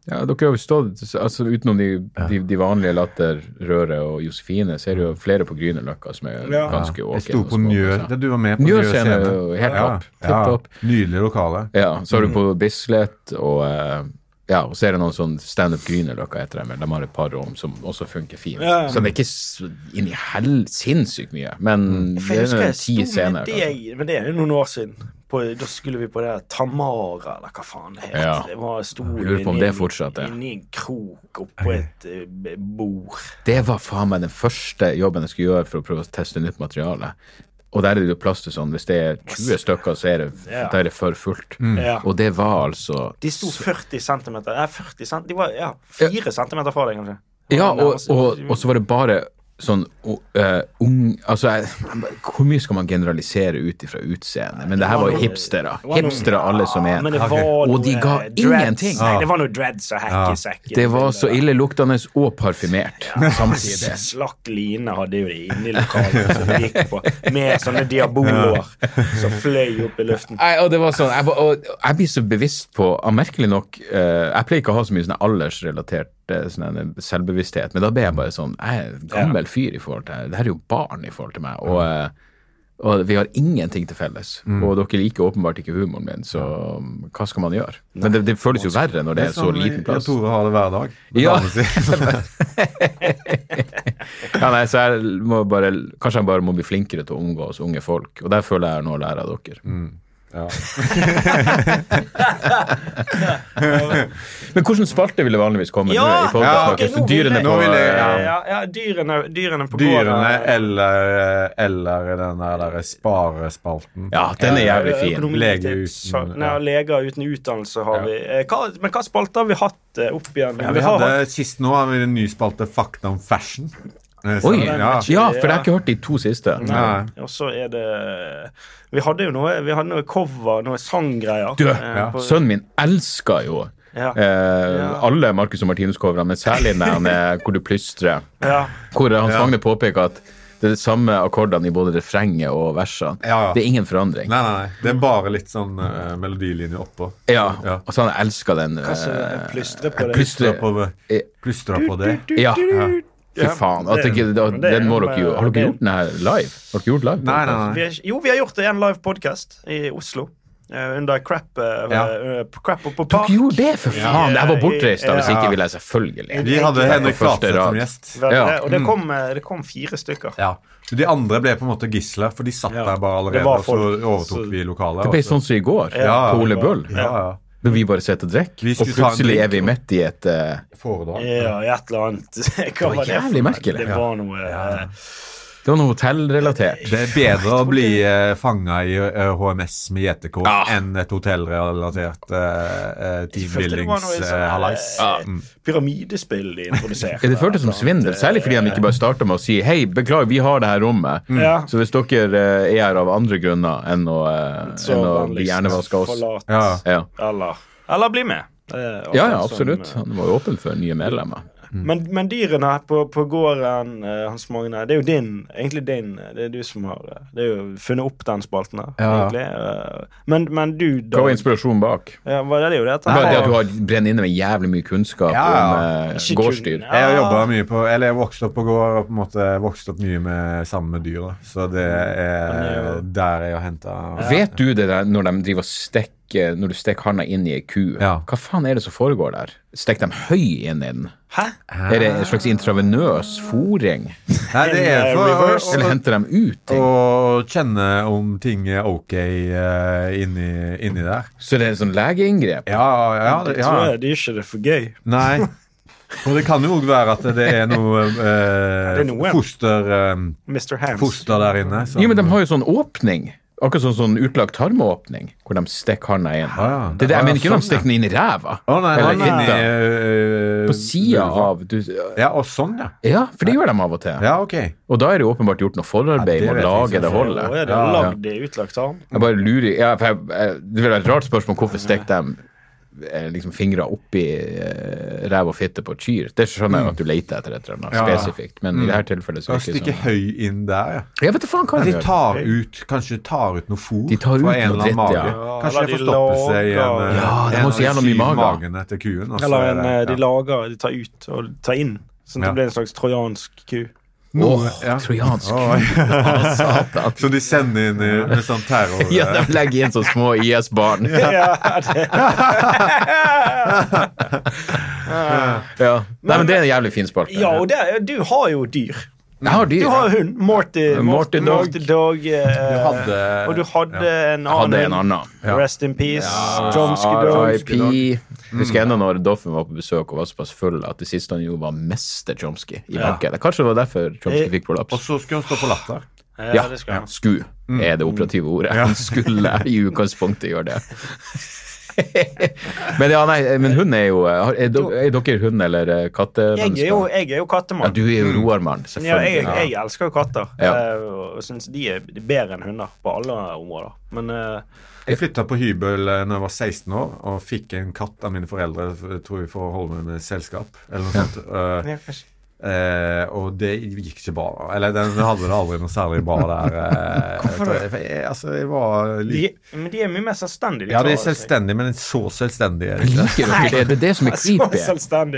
ja, Dere har jo stått altså, utenom de, de, de vanlige Latter, Røre og Josefine, så er det jo flere på Grünerløkka som er
Ja.
ganske åkne.
Jeg sto
og
på
små,
Njø
altså.
det Du var med på Njø
Njø-scene er jo helt
Ja,
topp. Tipp topp.
ja. Nydelig lokale.
Ja, så har du på Bislett, og eh, ja, og så er det noen sånn standup Grünerløkka heter de vel. De har et par rom som også funker fint.
Ja, ja.
Så det er ikke så inn i hell sinnssykt mye, men det
For jeg
er
husker
noen
jeg
ti
sto med
scener. kanskje.
deg Men det er jo noen år siden. På, da skulle vi på det her Tamara, eller hva faen det het.
Ja.
Det var stor
Jeg lurer på om det fortsatt er.
Inni en krok oppå et eh, b- bord.
Det var faen meg den første jobben jeg skulle gjøre for å prøve å teste nytt materiale. Og der er det jo plass til sånn Hvis det er 20 stykker, så er det,
Ja.
da er det for fullt.
Ja.
Mm. Og det var altså
De sto 40 cm Nei, 40 cm De var ja, 4 cm fra deg, kanskje.
Ja,
Og den
og,
nærmeste-
og, og så var det bare sånn o- eh, ung Altså, jeg, jeg bare- hvor mye skal man generalisere ut ifra utseende? Men det her var jo hipstere.
var noe-
Hipstere alle som
Men
er.
det var noe
Og de ga
eh, dreads.
ingenting.
Nei, det var noe dreads og hackysack.
Det var så illeluktende og parfymert samtidig.
Slakk line hadde jo de inne i lokalet som de gikk på, med sånne diaboloer som fløy opp i luften.
Nei, og det var sånn, jeg, ba- og jeg blir så bevisst på ah, Merkelig nok eh, Jeg pleier ikke å ha så mye sånn aldersrelatert eh, sånn en selvbevissthet, men da ble jeg bare sånn Jeg er en gammel fyr i forhold til Det her er jo barn i forhold til meg. Og, eh, og vi har ingenting til felles. Og dere liker åpenbart ikke humoren min, så um, hva skal man gjøre? Men det, det føles jo verre når det er så
som
liten plass.
Jeg tror vi har det hver dag.
Ja.
Damen sin.
Ja, nei, så jeg må bare, kanskje jeg bare må bli flinkere til å omgås unge folk, og der føler jeg jeg har noe å lære av dere. Men hvordan spalte ville vanligvis komme
Ja,
nå i
ja,
Folkesnakken?
ok,
nå vil
dyrene
jeg-
på
nå vil jeg-
Ja,
eh,
ja, ja dyrene, dyrene på
Dyrene
gården. eh,
eller, eller den der, der sparespalten.
Ja, den er jævlig fin.
Økonomi-
Lege uten-
så-
ja.
nei, leger uten utdannelse har vi. Eh, Hva, men hva spalte har vi hatt eh, opp igjen?
Ja, vi hadde, sist nå har vi en ny spalte Fakta om fashion. Eh, så-
Oi!
ja.
Ja, for jeg har ikke hørt de to siste.
Nei.
Og så er det Vi hadde jo noe, vi hadde noe cover, noe sanggreier.
Du,
eh, på-
sønnen min elsker jo
Ja.
eh, alle Marcus og Martinus-coverne, men særlig den eh, hvor du plystrer.
Ja.
Hvor Hans Magne påpeker at det er de samme akkordene i både refrenget og versene.
Ja, ja.
Det er ingen forandring.
Nei, nei, nei. Det er bare litt sånn eh, melodilinje oppå.
Ja,
Ja.
altså han elsker den.
Så
eh,
jeg plystrer på det.
plystre-
Plystra på,
Eh,
plystra på det.
Ja. Fy faen. At
det-
ikke, da,
men det er
den må
jo
dere jo
bare-
Har
det
dere
er-
gjort den her live? Har dere gjort live?
Nei, nei,
Vi
nei.
har, jo, vi har gjort det i en live podcast i Oslo. eh, under crap, eh,
Ja.
eh, på crap og på park.
Dere gjorde det, for faen! Jeg var bortreist da, hvis
Ja.
ikke ville jeg selvfølgelig
Vi hadde Henrik
På første
Flatseth som
rad.
gjest.
Vel,
Ja. Mm.
det- Og det kom, eh, det kom fire stykker.
Ja. Så De andre ble på en måte gisler, for de satt
Ja.
der bare
Det
allerede,
var
og så
folk,
overtok
så-
vi lokalet.
Det ble sånn som i går,
Ja,
på Ole
det var-
Bull.
ja, ja.
Da vi bare sitter og drikker,
Vi
og
skulle ta en
plutselig
drink.
er vi midt i et eh,
Foredrag.
Ja, i et eller annet. Hva
var
var det? for
jævlig
noe?
merkelig.
Det
Ja.
var noe eh,
Det var noe hotellrelatert.
Det er bedre å bli eh, fanga i eh, HMS med gjetekår enn et hotellrelatert eh, eh, Mm.
jeg følte det var noe sånn, eh,
teambuildings-hallais.
Pyramidespill de introduserte.
Ja, Det føltes som svindel, særlig
Eh,
fordi han ikke bare starta med å si hei, beklager, vi har det her rommet.
Mm.
Ja.
Så hvis dere eh, er her av andre grunner enn å, eh, enn
Så liksom
å bli
vanligst
hjernevaska oss
forlat.
ja.
ja.
Eller, eller bli med.
ja,
Eh,
ja,
akkurat som,
absolutt.
eh,
Han var jo åpen for nye medlemmer.
Mm.
Men, men dyrene her på, på gården, eh, Hans Magne, det er jo din, egentlig din. eh, Det er du som har eh, Det er jo funnet opp den spalten her,
Ja.
egentlig. eh, Men, men du, da
Hva var inspirasjonen bak?
ja, Var det det jo det? at-
Bare det at du har brenner inne med jævlig mye kunnskap
Ja, ja.
om eh,
Ikke kun-
gårdsdyr.
Jeg har jobbet mye på Eller jeg vokste opp på gård og på en måte vokste opp mye med sammen med dyra. Så det
Mm.
er der jeg har henta
Vet du det der når de driver og stekker Når du stekker handa inn i ei ku?
Ja.
Hva faen er det som foregår der? Stekker de høy inn i den?
Hæ?
Er det en slags intravenøs fòring?
Nei, det er
In, uh,
for
reverse.
Eller
å,
henter de ut
å,
ting?
å kjenne om ting er ok eh, inni, inni der.
Så det er sånn legeinngrep?
Ja, ja,
Det
det-
tror
ja.
jeg det er ikke det er for gøy.
Nei. Og det kan jo òg være at det er noe eh,
Det er noe.
foster eh,
Mr. Hands.
foster der inne. som-
Ja, men de har jo sånn åpning. Akkurat sånn, sånn utlagt tarmåpning, hvor de stikker handa inn.
ja.
Det, er det,
Ja,
jeg mener ikke
sånn,
når de stikker den inn i ræva.
Å nei,
eller
han er
fitta.
inni, eh,
På sida av du,
Ja, og sånn, ja.
Ja, for det gjør de av og til.
Ja, ok.
Og da er det jo åpenbart gjort noe forarbeid med
Ja, det
å
vet jeg
lage
ikke.
det
Nå
hullet.
er det lagd i utlagt tarm.
Jeg bare lurer ja, for jeg, jeg, Det vil være et rart spørsmål hvorfor stikker de eh, liksom fingra oppi eh, ræv og fitte på et kyr. Det skjønner jeg jo at du leter etter et eller annet
Ja, ja.
spesifikt, men i dette tilfellet så
Og
er det ikke
stikke
sånn.
høy inn der, ja.
Jeg vet da faen hva
De
de gjør.
tar ut, kanskje tar ut noe fôr
De tar ut
fra
noe
en eller annen
dritt,
mage.
ja.
Kanskje
eller
det
de
forstopper seg i en,
lager-
eh,
Ja, de
en
har
av
så jævla mye
syv
mage.
magene til kuen. og så
Eller
er
en,
det-
eh, de
ja.
lager, de tar ut og tar inn. Sånn at
Ja.
det blir en slags trojansk ku.
Åh,
ja.
trojansk
Oi.
satan.
Så de sender inn i, med sånn terror...
Ja, de legger inn så små IS-barn.
Ja, det,
Ja. Nei, men det er en jævlig fin spalte.
ja og det, du har jo dyr.
Jeg har dyr.
Du har jo hund. Morty,
Morty
Morty,
Dog.
Morty Dog. eh,
hadde-
og du hadde en
Jeg hadde en
annen.
annen.
Rest in peace. Dromsky Dog.
RIP. Husker ennå når Doffen var på besøk og var såpass full at det siste han gjorde, var å meste Chomsky i banken. Kanskje det var derfor Chomsky
Eh,
fikk prolaps.
Og så skulle han stå på latter.
Ja,
Ja,
det skal han.
sku
Mm.
er det operative ordet. Han skulle i utgangspunktet gjøre det. men ja, nei, men hund er jo eh, har- Er, do- er dere hund- eller eh, kattemennesker?
Jeg er jo, jeg er jo
Ja,
kattemann.
du er jo roarmann,
Ja, jeg,
selvfølgelig.
jeg elsker jo katter,
Ja.
eh, og syns de er bedre enn hunder på alle områder. Men eh,
Jeg flytta på hybel eh, når jeg var 16 år, og fikk en katt av mine foreldre f- tror jeg, for å holde meg med selskap. eller noe sånt. Eh,
ja, kanskje-
eh, og det gikk ikke bra. Eller den hadde det aldri noe særlig bra der. eh,
Hvorfor det?
For jeg, altså, jeg var
de,
litt
men de er mye mer selvstendige. de
Ja, de er
klarer seg.
selvstendige, men så selvstendige. er de
Liker
ikke?
dere det? Det er det som er
Så
creepy.
selvstendig,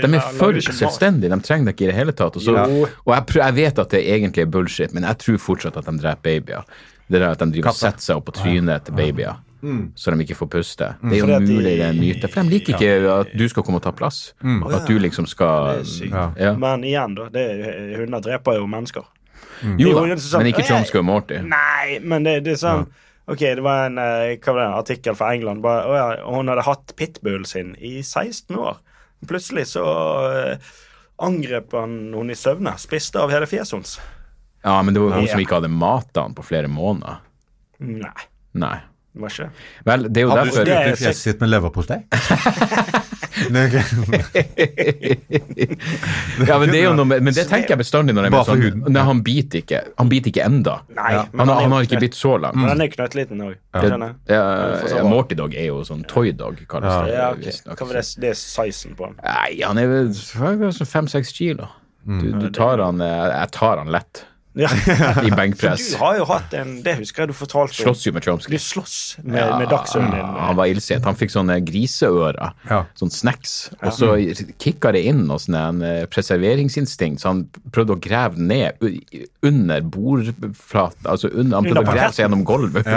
De
ja,
er
lager
for
ikke mat.
selvstendige. De trenger deg ikke i det hele tatt. Og, så, og jeg, prø- jeg vet at det egentlig er bullshit, men jeg tror fortsatt at de dreper babyer. Det der at de driver og setter seg opp på trynet til babyer, så de ikke får puste. Det er
Mm. Fordi
jo
at de-
mulig det er en myte, for de liker ikke at du skal komme og ta plass.
Mm.
At du liksom skal
sykt.
ja. Mm. Ja.
Men igjen, da. Det, er- hunder dreper jo mennesker.
Jo
Mm. Det er
da,
jo en som-
men ikke Chomsky og Morty.
Nei, men det, det er sånn Ok, det var en eh, hva var det, en artikkel fra England. Bare, å, ja, og hun hadde hatt pitbullen sin i 16 år. Plutselig så eh, angrep han henne i søvne. Spiste av hele fjeset hennes.
Ja, men det var jo hun
Ja.
som ikke hadde mata han på flere måneder.
Nei,
Nei.
det var ikke det.
Vel, det er jo
Hadde du
derfor
Det er
spurt i fjeset sitt med leverpostei? Nei, ok.
Ja, men det er jo noe med, men det tenker jeg bestandig når jeg er med
Bare for
sånn-
huden.
Nei, han biter ikke. Han biter ikke enda.
Nei,
han,
men han er
han
jo
har ikke
knøtt.
bitt så langt.
Men den er knøttliten òg.
Det,
Ja.
ja, ja, Morty Dog er jo sånn toy dog, kalles det.
Ja, ok.
visstnok.
Hva var det, det er sizen på den?
Nei, han er vel han er vel sånn fem-seks kilo. Du,
Mm.
du tar han eh, Jeg tar han lett
Ja.
i
For
benkpress.
du har jo hatt en Det husker jeg du fortalte om.
Slåss jo med
Du
Chomsky.
slåss med, med dagsønnen din.
han var illsint. Han fikk sånne griseører,
Ja.
sånn snacks, og så kicka det inn noe sånn en eh, preserveringsinstinkt, så han prøvde å grave ned u- under bordflaten, altså under, han prøvde
Under
å grave seg gjennom gulvet.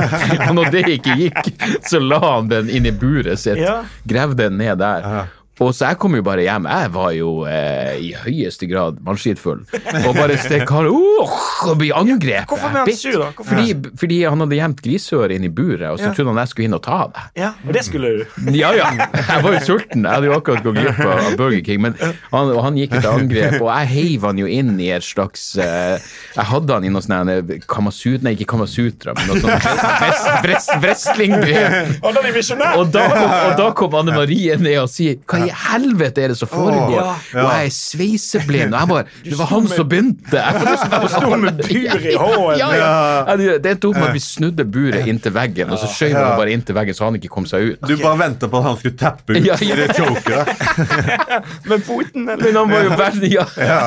og når det ikke gikk, så la han den inn i buret sitt,
Ja.
gravde den ned der. Og så jeg kom jo bare hjem, jeg var jo eh, i høyeste grad mannskitfull, og bare stekk han, åh, og blir angrepet.
Hvorfor ble han
bitt.
sur da? Hvorfor ble han
Fordi, fordi han hadde gjemt griseøret inn i buret, og så trodde han jeg skulle inn og ta det.
Ja, og det skulle du.
Ja, ja. Jeg var jo sulten. Jeg hadde jo akkurat gått glipp av av Burger King. Men han, og han gikk til angrep, og jeg heiv han jo inn i et slags eh, Jeg hadde han i noe sånn her, eh, kamasut... Nei, ikke kamasutra, men noe sånn wrestlinggrep.
Og den er misjonær!
Og da, kom, og da kom Anne Marie ned og sier Hva i helvete er det som foregår?
Åh,
Og jeg er sveiseblind. Og jeg bare Det var han som begynte! Jeg får lyst til å
sto med buret i hånden.
Ja, ja. Ja, det- Det endte opp med at vi snudde buret inntil veggen, og så skjøv vi det bare inntil veggen så han ikke kom seg ut.
Du bare venta på at han skulle tappe ut
Ja, ja.
i det chokeret.
Med foten, eller?
Men han var jo veldig ja.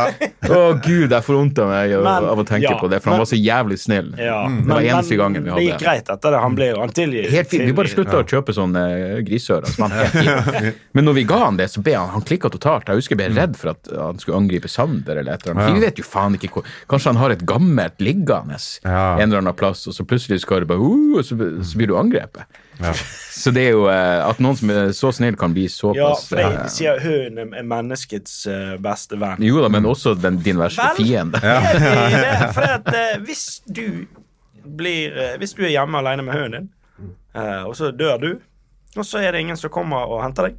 Å gud, jeg får vondt av meg av-
Men-
av å tenke
ja,
på det, for han
men-
var så jævlig snill.
Ja,
Mm. Det var eneste gangen vi
Det gikk
hadde.
greit etter det. Han ble jo han tilgir.
Helt fint, Vi bare slutta å kjøpe sånne eh, grisører. Som han helt fin. Men når vi ga han det, så ble han han klikka totalt. Jeg husker jeg ble redd for at han skulle angripe Sander eller et eller annet. For Vi vet jo faen ikke hvor Kanskje han har et gammelt liggende
Ja.
en eller annen plass, og så plutselig skal det bare uh, og så, så blir du angrepet. Så det er jo eh, At noen som er så snill, kan bli
Ja,
såpass
for
eh,
de sier hun er menneskets eh, beste venn.
Jo da, men også den, din verste
Vel?
fiende.
Helt enig i det, For at, eh, hvis du blir eh, Hvis du er hjemme alene med hunden din, eh, og så dør du, og så er det ingen som kommer og henter deg,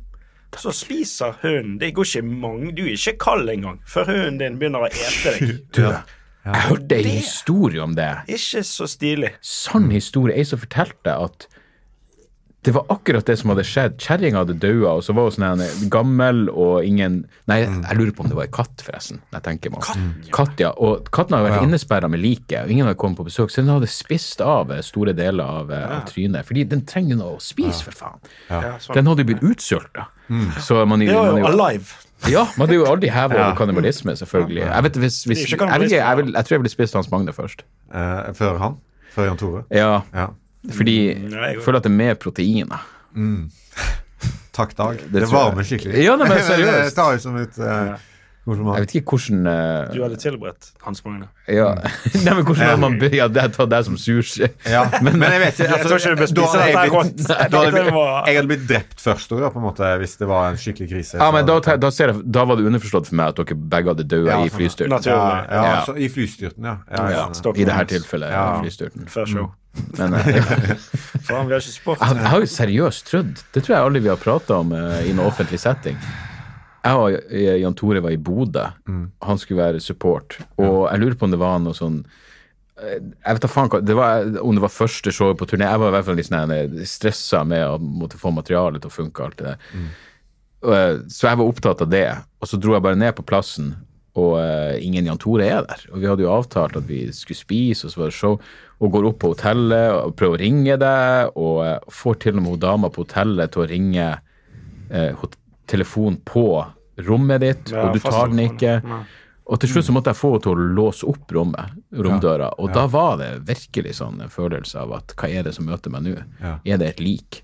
så spiser hunden Det går ikke mange Du er ikke kald engang før hunden din begynner å ete deg.
Jeg hørte ei historie om det.
Ikke så stilig.
Sann historie. Ei som fortalte at det var akkurat det som hadde skjedd. Kjerringa hadde daua, og så var hun sånn en gammel og ingen Nei, jeg lurer på om det var ei katt, forresten. når Jeg tenker meg. om. Mm. Katt, ja. Og katten hadde vært innesperra med liket, og ingen hadde kommet på besøk. Så den hadde spist av eh, store deler av, eh, av trynet. Fordi den trenger jo noe å spise, for faen. Den hadde jo blitt utsulta. Så man,
Det var
man
jo alive.
Ja, men det er jo aldri hevet over kannibalisme, selvfølgelig. Jeg, vet, hvis, hvis,
Det er
jeg,
ikke kannibalisme,
vil- jeg, vil, jeg tror jeg ville spist Hans Magne først.
Eh, før han. Før Jan Tore.
Ja,
Ja.
fordi
nei,
jeg
jeg-
føler at det er mer proteiner.
Takk, Dag. Det,
tror
varmer
jeg.
skikkelig.
Ja, nei, men
det
seriøst.
tar jo som et eh,
Jeg
kompliment.
vet ikke hvordan eh,
Du hadde tilberedt Hans Magne.
ja. Nei, men hvordan hadde man begynt ja, ta deg som sushi?
Ja, men, jeg vet ikke, altså,
Jeg tror ikke du bør
da
spise
hadde
dette
jeg
her
blitt-
rått.
da hadde jeg
Det var-
blitt- Jeg hadde blitt drept først også, da, på en måte, hvis det var en skikkelig krise.
Ja, men da, da, ser jeg, da var det underforstått for meg at dere begge hadde dødd
Ja,
i flystyrten.
Naturlig.
ja, ja,
Ja.
Så, I flystyrten, ja. ja,
Ja,
jeg skjønner.
I det her tilfellet
Ja.
flystyrten.
Før show.
Men, eh,
Faen, vi har ikke spurt.
Jeg, jeg har jo seriøst trodd Det tror jeg aldri vi har prata om eh, i en offentlig setting. Jeg og eh, Jan Tore var i Bodø. Han skulle være support. Og jeg lurer på om det var noe sånn jeg vet da faen hva, det var, om det var første showet på turné. Jeg var i hvert fall litt sånn stressa med å måtte få materialet til å funke. alt det der. Og, eh, Så jeg var opptatt av det. Og så dro jeg bare ned på plassen, og eh, ingen Jan Tore er der. Og vi hadde jo avtalt at vi skulle spise, og så var det show. Og går opp på hotellet og prøver å ringe deg, og eh, får til og med hun dama på hotellet til å ringe eh, hot- telefon på rommet ditt,
Ja,
og du tar den
fasttelefon.
ikke.
Nei.
Og til slutt så måtte jeg få henne til å låse opp rommet, romdøra. Og da var det virkelig sånn en følelse av at hva er det som møter meg nå? Er det et lik?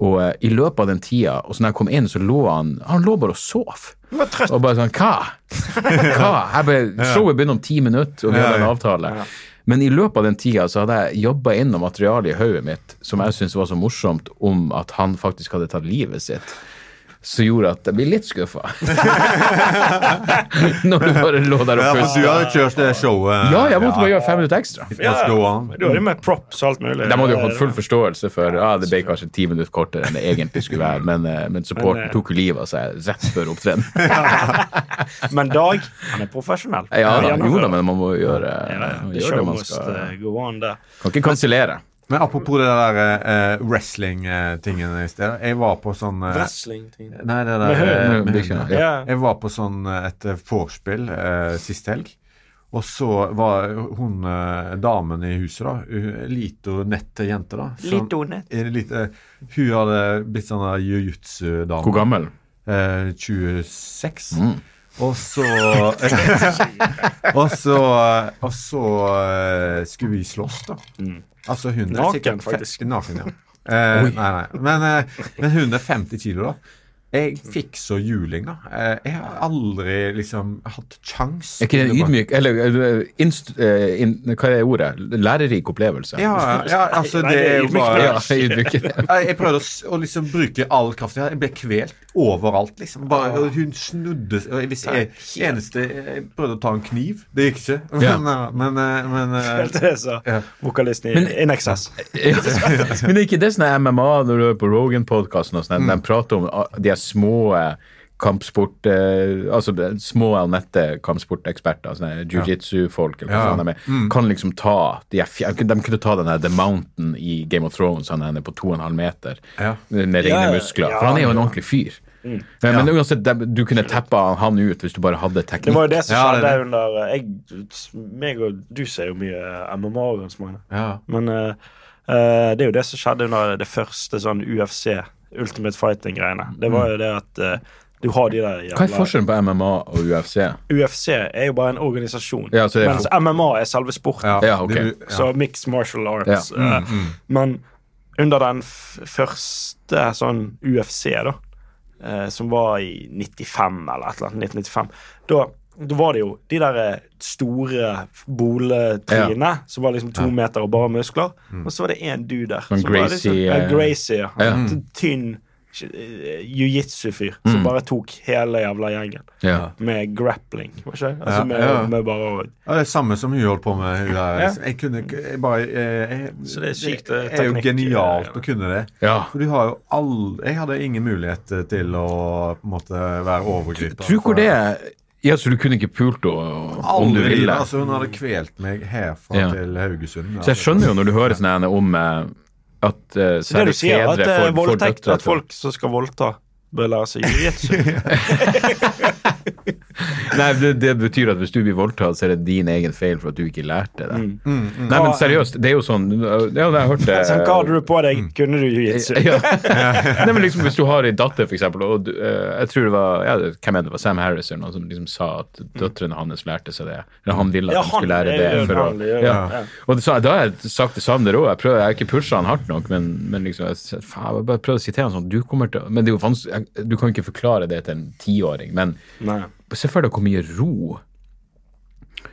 Og eh, i løpet av den tida, og så når jeg kom inn, så lå han Han lå bare og sov.
Du var trøtt.
Og bare sånn Hva? Hva? Jeg bare, showet begynner om ti minutter, og vi hadde en avtale. Men i løpet av den tida så hadde jeg jobba inn noe materiale i hodet mitt som jeg syntes var så morsomt, om at han faktisk hadde tatt livet sitt. Som gjorde at jeg ble litt skuffa. Når du bare lå der og
Ja, for du
pusta.
hadde kjørt det showet.
Ja, jeg måtte bare gjøre fem minutter ekstra.
Let's go on.
Du hadde jo med props og alt mulig.
De hadde jo hatt full forståelse for ja, det ble kanskje ti minutter kortere enn det egentlig skulle være, men, eh, men
Men, eh,
supporten tok jo livet av seg rett før opptreden.
Men Dag, han er profesjonell.
Ja,
Han
da,
gjennomfører.
jo da, men man må jo gjøre,
Ja, ja,
man
The
gjør det
show
man
must
skal.
eh, go on der.
Kan ikke kansellere.
Men apropos det der eh, wrestling-tingen i sted. Jeg var på sånn eh,
Wrestling-ting.
Nei, det der
Med høy.
eh,
Med
med
bikkjene,
høy.
Ja.
Jeg var på sånn eh, et eh, vorspiel eh, sist helg. Og så var hun eh, damen i huset, da, hun- lito nette jente, da
Sånn.
som-
Litt donet.
er det litt, eh, Hun hadde blitt sånn eh, jiu-jitsu-dame.
Hvor gammel?
Eh, 26.
Mm.
Og så eh, Og så Og så eh, skulle vi slåss, da.
Mm.
Altså hun er
Naken,
sikkert fe-
faktisk.
Naken, ja. Eh, nei, nei. Men, eh, men hun er 50 kilo, da. Jeg fikk så juling, da. Eh, jeg har aldri liksom hatt kjangs.
Er ikke det en ydmyk Eller eh, inst, eh, in, hva er ordet? Lærerik opplevelse?
Ja, ja, altså
Nei,
det er jo
ydmyk,
bare
ja ydmyk.
Jeg jeg prøvde å, s- å liksom bruke all kraft jeg hadde. Jeg ble kvelt overalt, liksom. Bare, og hun snudde og Hvis jeg, eneste Jeg prøvde å ta en kniv. Det gikk ikke.
Ja.
Men, eh, men, eh, men eh,
Helt til det, så. Vokalisten i In Excess.
Men det er ikke det sånn MMA når du hører på Rogan-podkasten og sånn,
Mm.
de prater om ah, de er små eh, kampsport eh, Altså de små og nette kampsporteksperter, sånne jiu-jitsu-folk eller hva faen
Ja. Mm.
de er, kan liksom ta De, er, fj- de kunne ta den her The Mountain i Game of Thrones, han er på 2,5 meter
Ja.
med rene
Ja,
muskler.
ja, Mm.
For han er jo en ordentlig fyr. Eh, Men, men uansett, de, du kunne teppa han ut hvis du bare hadde
Det
teknikk.
var jo det som
Ja, det
skjedde
er det.
under eh, jeg, meg og Du ser jo mye eh, MMA, og Hans Magne.
Ja.
Men eh, eh, det er jo det som skjedde under det første sånn UFC, Ultimate Fighting-greiene. Det var jo det at eh, du har de der
Hva er forskjellen på MMA og UFC?
UFC er jo bare en organisasjon,
Ja, så det er-
mens MMA er selve sporten.
ja,
Ja, ok.
det- ja.
Så mixed martial arts. eh, Men under den f første sånn UFC, da, eh, som var i 95 eller et eller annet, 1995, da, da var det jo de der eh, store boletrinene som var liksom to meter og bare muskler, og så var det én dude der.
Sånn
som var
Gracie,
liksom,
eh,
eh, Gracie ja.
ja.
En sånn tynn eh, jiu-jitsu-fyr som bare tok hele jævla gjengen.
Ja.
Med grappling, var ikke det? Altså
Ja,
med,
ja.
med bare å
Ja, det er samme som hun holdt på med. Hun der. liksom.
Ja.
Jeg kunne ikke jeg bare eh, jeg,
Så det er sykt, eh,
Det er jo
teknikk,
genialt
eh,
å kunne det.
Ja.
For du har jo aldri Jeg hadde ingen mulighet eh, til å på en måte være overgriper.
Tror hvor det er Ja, så du kunne ikke pult henne om du
Aldri.
ville?
Altså, hun hadde kvelt meg herfra
Ja.
til Haugesund.
Så jeg skjønner jo når du hører sånne her om eh, at uh,
Så det du sier, at, eh, voldtekt,
døtre
at folk som skal voldta, bør lære seg jiu-jitsu.
Nei, det, det betyr at hvis du blir voldtatt, så er det din egen feil for at du ikke lærte det. Nei, men seriøst, det er jo sånn Ja, jeg har hørt eh, det.
Sånn, Mm. hva hadde du på deg? Kunne du jiu-jitsu?
Mm. ja. Nei, men liksom, hvis du har ei datter, for eksempel, og du, eh, jeg tror det var ja, det- hvem er det, det var Sam Harris eller noen som liksom sa at døtrene hans lærte seg det. Eller han ville at
Mm. Ja,
de
han-
skulle lære
det er
det.
jo
For å,
vanlig, ja. Ja.
ja. Og det, sa- da har jeg sagt det samme der òg. Jeg, prøver- jeg har ikke pusha han hardt nok, men, men liksom, jeg, s- faen, jeg bare prøvde å sitere han sånn du kommer til, å- Men det er jo vanskelig, jeg- du kan ikke forklare det til en tiåring. Men
Nei.
se for deg hvor mye ro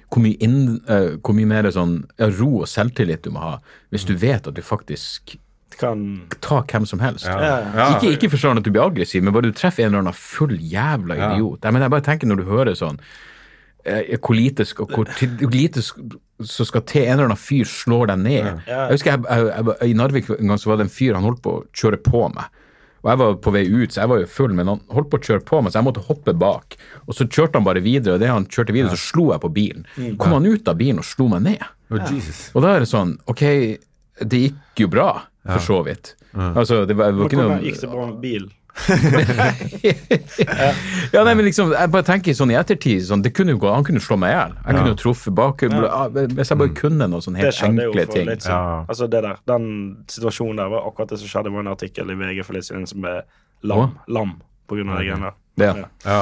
hvor mye, inn, eh, hvor mye mer sånn, ja, ro og selvtillit du må ha hvis
Mm.
du vet at du faktisk
Det Kan...
ta hvem som helst.
Ja.
Ikke, ikke forstår han at du blir aggressiv, men bare du treffer en eller annen full jævla idiot. Jeg, mener, jeg bare tenker når du hører sånn eh, hvor lite, sk- og hvor, til, hvor lite sk- som skal til en eller annen fyr slår deg ned. Jeg husker jeg, jeg, jeg, I Narvik en gang så var det en fyr han holdt på å kjøre på meg. Og jeg var på vei ut, så jeg var jo full, men han holdt på å kjøre på meg, så jeg måtte hoppe bak. Og så kjørte han bare videre, og idet han kjørte videre, så slo jeg på bilen.
Mm.
Kom han ut av bilen og slo meg ned.
Å, Jesus.
Og da er det sånn, ok, det gikk jo bra, for så vidt. Altså, det var, det var ikke
Hvordan
noe
gikk det bra med bilen?
Ja, nei, men liksom, jeg bare tenker sånn i ettertid sånn, det kunne jo gå, Han kunne slå meg i hjel. Jeg kunne jo truffet bak ah, Hvis jeg bare kunne noen sånne
Det
helt
skjedde jo
enkle
for
ting.
litt siden. Altså det der, Den situasjonen der var akkurat det som skjedde med en artikkel i VG for litt siden som ble lam, lam på grunn av det greiene der.
Ja.
Ja.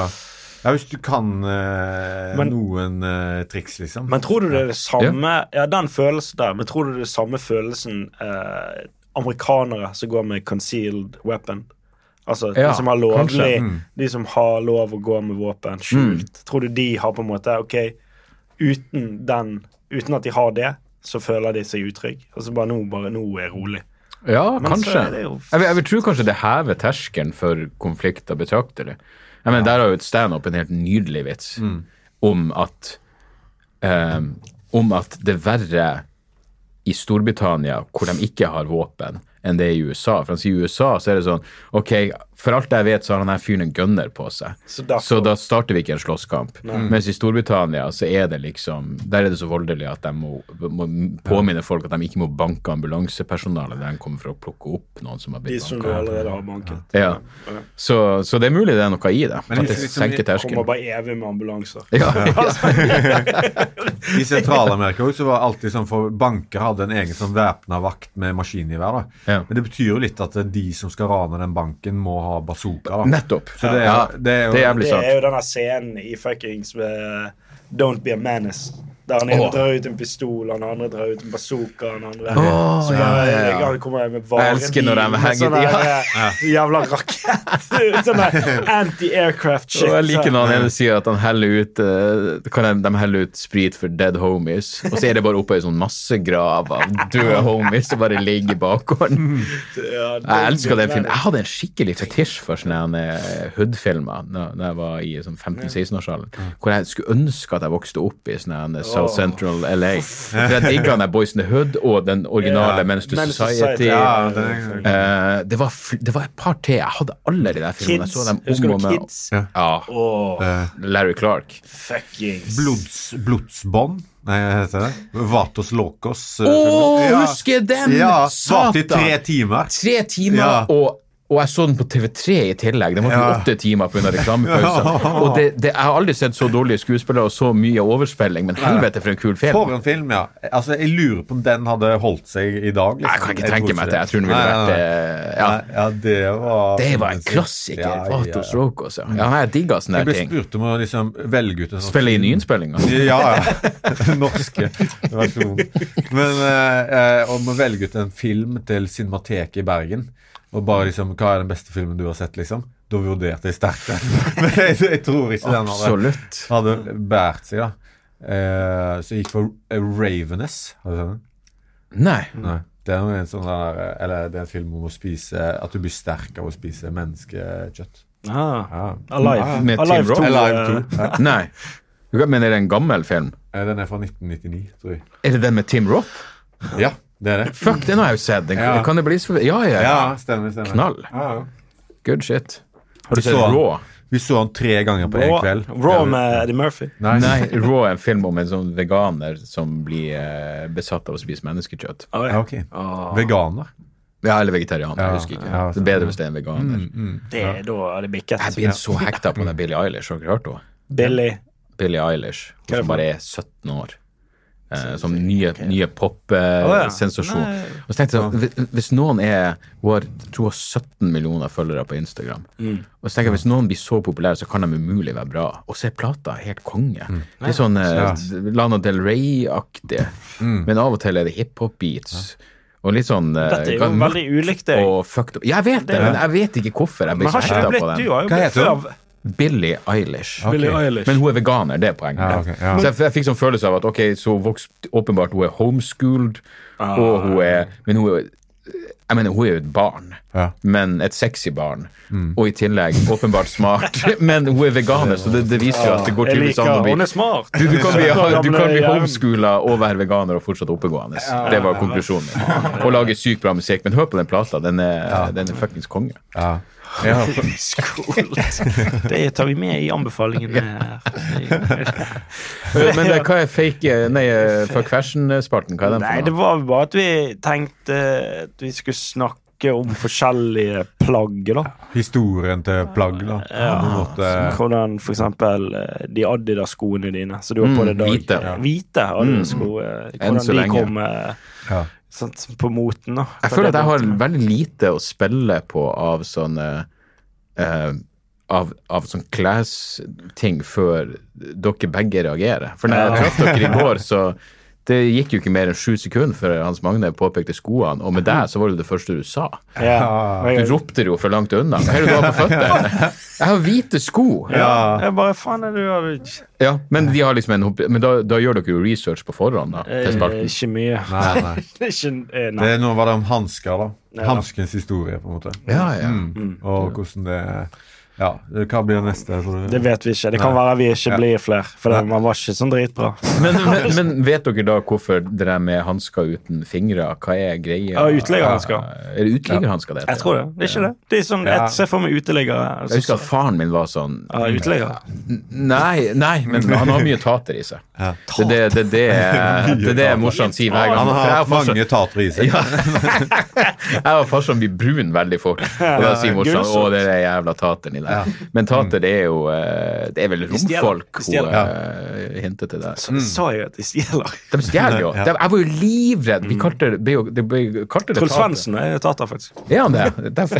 ja, hvis du kan eh,
Men-
noen eh, triks, liksom.
Men tror du det er det samme Ja, den følelsen der, men tror du det er det samme følelsen eh, amerikanere som går med concealed weapon? Altså
Ja,
de som har lovlig
kanskje. Mm.
De som har lov å gå med våpen skjult. Tror du de har på en måte OK, uten den Uten at de har det, så føler de seg utrygge. Og så bare nå, bare nå er jeg rolig.
Ja,
Men så
kanskje.
er det jo-
Jeg, vil- jeg vil tro kanskje det hever terskelen for konflikter betraktelig. Jeg mener, Der har jo et standup en helt nydelig vits
Mm.
om at eh, om at det verre i Storbritannia, hvor de ikke har våpen, enn det er i USA. For han sier i USA så er det sånn Ok, for alt jeg vet, så har han her fyren en gunner på seg.
Så derfor-
da starter vi ikke en slåsskamp. Mens i Storbritannia så er det liksom Der er det så voldelig at de må, må påminne folk at de ikke må banke ambulansepersonalet når de kommer for å plukke opp noen som har
De
blitt
som du
banka.
allerede har banket.
Ja. Så, så det er mulig det er noe i det.
Men
At det
hvis liksom vi
senker
Kommer
terskelen.
bare evig med ambulanser.
Ja, ja.
I Sentral-Amerika også, så var det alltid sånn for banker hadde en egen sånn væpna vakt med maskingevær. da.
Ja.
Men det betyr jo litt at det er de som skal rane den banken, må ha bazooka. da.
Nettopp.
Så det er-
ja,
det er jo-
jævlig
Det
sant.
er jo denne scenen i fuckings eh, Don't Be a Menace. Der han ene
Åh.
drar ut en pistol, han andre drar ut en bazooka han andre
Åh,
Så
ja,
bare,
ja, ja.
Han kommer med
Jeg
varebil
elsker når de
med
henger
sånn
de, ja.
der, eh, jævla rakett. sånn der anti-aircraft shit.
Og jeg liker
så-
når han ene sier at han heller ut eh, kan de, de heller ut sprit for dead homies, og så er det bare oppe i sånn massegrav av døde homies som bare ligger i bakgården.
Ja, Don't
Jeg elsker
Be a
den filmen.
Menace.
Jeg hadde en skikkelig fetisj for sånne eh, hood-filmer da da jeg var i sånn 15-16-årsalderen, hvor jeg skulle ønske at jeg vokste opp i sånne her South Central LA. For jeg digga den der Boys in the Hood og den originale Men's to
Men's
Society.
Society,
Ja, det er-
Eh, det, var fl det var et par til. Jeg hadde alle de der filmene. Jeg
Kids.
så dem om
Husker
og
du
med.
Kids?
Ja.
Åh,
Larry Clark.
fuckings.
Blods, blodsbånd, nei, hva heter det? Vatos locos. eh,
Å,
filmen.
husker den!
Ja, varte i tre
Satan!
timer.
Tre timer,
Ja.
og, og jeg så den på TV3 i tillegg. Den var til
Ja.
åtte timer pga. reklamepauser. Og det, det, jeg har aldri sett så dårlige skuespillere og så mye overspilling, men helvete for en kul
For
film.
en film, ja. Altså, Jeg lurer på om den hadde holdt seg i dag. liksom.
Jeg kan ikke tenke
tror
meg til. Jeg tror den ville
Nei, nei,
vært
nei.
eh, ja.
Nei, ja, det var
Det var en klassiker.
Ja, ja, ja.
Vatos Rokos, ja. ja. Jeg digga sånne der
Jeg ble
ting.
spurt om å liksom velge ut en sånn
Spille i nyinnspillinger.
Ja, ja. Norske versjon. Men eh, eh, om å velge ut en film til Cinemateket i Bergen, og bare liksom Hva er den beste filmen du har sett, liksom? Da vurderte jeg sterkt den. Men jeg, jeg tror ikke den hadde,
Absolutt.
hadde båret seg, da. Eh, så jeg gikk for eh, Ravenous. Har du sett den?
Nei.
Nei. Det er, jo en sånn der, eh, eller det er en film om å spise At du blir sterk av å spise menneskekjøtt.
Ah,
Ja.
Alive.
Med Tim
Alive 2.
Roth?
Alive
eh,
2. Ja.
Nei. Men er det en gammel film?
Eh, Den er fra 1999, tror jeg.
Er det den med Tim Roth?
Ja, det er det.
Fuck, den har jeg jo sett. Den,
Ja.
Kan det bli så Ja, ja. ja.
Ja, stemmer. stemmer.
Knall.
Ja, ja.
Good shit. Har du
Vi
sett
så han.
Raw?
Vi så han tre ganger på én kveld.
Raw, Raw med Eddie Murphy.
Nei.
Nei, Raw er en film om en sånn veganer som blir eh, besatt av å spise menneskekjøtt.
Ah,
Ja,
ja.
ok. Veganer.
Ja, eller vegetarianer,
Ja,
jeg husker ikke.
ja,
det er bedre hvis det er en veganer.
Det, da er det
Jeg
bikket.
blir så hekta på den Billie Eilish, har dere hørt henne?
Billy.
Billie Eilish,
er
hun
det
som
for
bare er 17 år. Eh, som nye, nye pop-sensasjon.
Nei.
og så tenkte jeg sånn, hvis- Hvis noen er Hun har jeg tror hun har 17 millioner følgere på Instagram.
Mm.
Og så tenker jeg, Hvis noen blir så populære, så kan de umulig være bra. Og så er plata helt konge. Det er sånn eh, Lana Del Rey-aktig. Men av og til er det hiphop-beats. Og litt sånn eh,
Dette er jo
gan-
veldig ulikt deg.
og fucked up. Ja, jeg vet det, men jeg vet ikke hvorfor jeg ble
Men
så
har ikke du
hekta
blitt
på
Du
den.
har jo
Hva
blitt
heter hun?
før
Billie Eilish.
Billie
Ok.
Eilish.
Men hun er veganer, det er poenget.
Ja, ok, ja.
Så jeg, jeg fikk sånn følelse av at
Ah.
ok, så vokst, åpenbart hun er homeschooled, og hun er, men hun er Jeg mener, hun er jo et barn,
Ja.
men et sexy barn. Og i tillegg åpenbart smart. men hun er veganer, så det, det viser jo at det går
Jeg
tydeligvis
liker
an å bli
Hun er smart.
du, du kan bli, du kan bli
Gamle-
homeschoola og være veganer og fortsatt oppegående. Det var konklusjonen min. Og lage sykt bra musikk. Men hør på den plata. Den er, den er fuckings konge.
Det tar vi med i anbefalingene her.
Men det, hva er fake Nei, eh, fuck fashion-spalten? Hva er den
Nei, det
for noe?
var vel bare at vi tenkte at vi skulle snakke om forskjellige plagg, da.
Historien til plagg, da. På en måte.
Hvordan for eksempel eh, de Adidas-skoene dine som du har på
Mm,
deg i dag.
hvite. Mm,
Ja. Hvite Adidas-sko. eh,
Enn
Hvordan
så
de
lenge.
kom eh,
Ja.
sånt, på moten, da.
Jeg føler at jeg har veldig lite å spille på av sånn eh, av, av sånn klesting før dere begge reagerer. For når jeg traff dere i går, så det gikk jo ikke mer enn sju sekunder før Hans Magne påpekte skoene, og med deg så var det det første du sa.
ja.
Du
Jeg,
ropte det jo fra langt unna. Hva er det du har på føttene? Jeg har hvite sko!
Ja.
jeg bare Faen, er du har du ikke-
Ja, men de har liksom en, hopp- men da, da gjør dere jo research på forhånd, da.
eh,
Til spalten.
Ikke mye.
Nei, nei.
Det er ikke eh, Nei.
Det, nå var det om hansker, da.
Ja.
Hanskens historie, på en måte.
Ja, ja.
Mm. Og hvordan det Ja, hva blir neste? tror du?
Det vet vi ikke. Det kan være vi ikke blir flere, for det, man var ikke sånn dritbra.
Men, men, men vet dere da hvorfor det der med hansker uten fingre, hva er greia?
Ja, uteliggerhansker.
Er det uteliggerhansker det heter?
Jeg tror det. Det er ikke det. Det er sånn, jeg ser for meg uteliggere.
Jeg husker at faren min var sånn
Ja, uteliggere.
Nei, nei, men han har mye tater i seg. Det er det, det, det, er- det, er det morsan sier hver gang.
Han
For
har
jeg
hatt
farsan-
mange tatere i seg.
Ja. Jeg og farsan blir brun veldig fort. Og da sier morsan
grusomt.
'Å, det er den jævla tateren i deg'. Men
Mm.
tater det er jo eh, Det er vel
stjeler.
romfolk
De
hun
stjeler.
eh, hinter til der.
Så sa jeg jo at de stjeler.
De stjeler jo. De, jeg var jo livredd. Vi kalte det, ble jo- det, ble- kalte det
Truls
tater.
Svendsen er jo tater, faktisk.
Er han det? Derfor.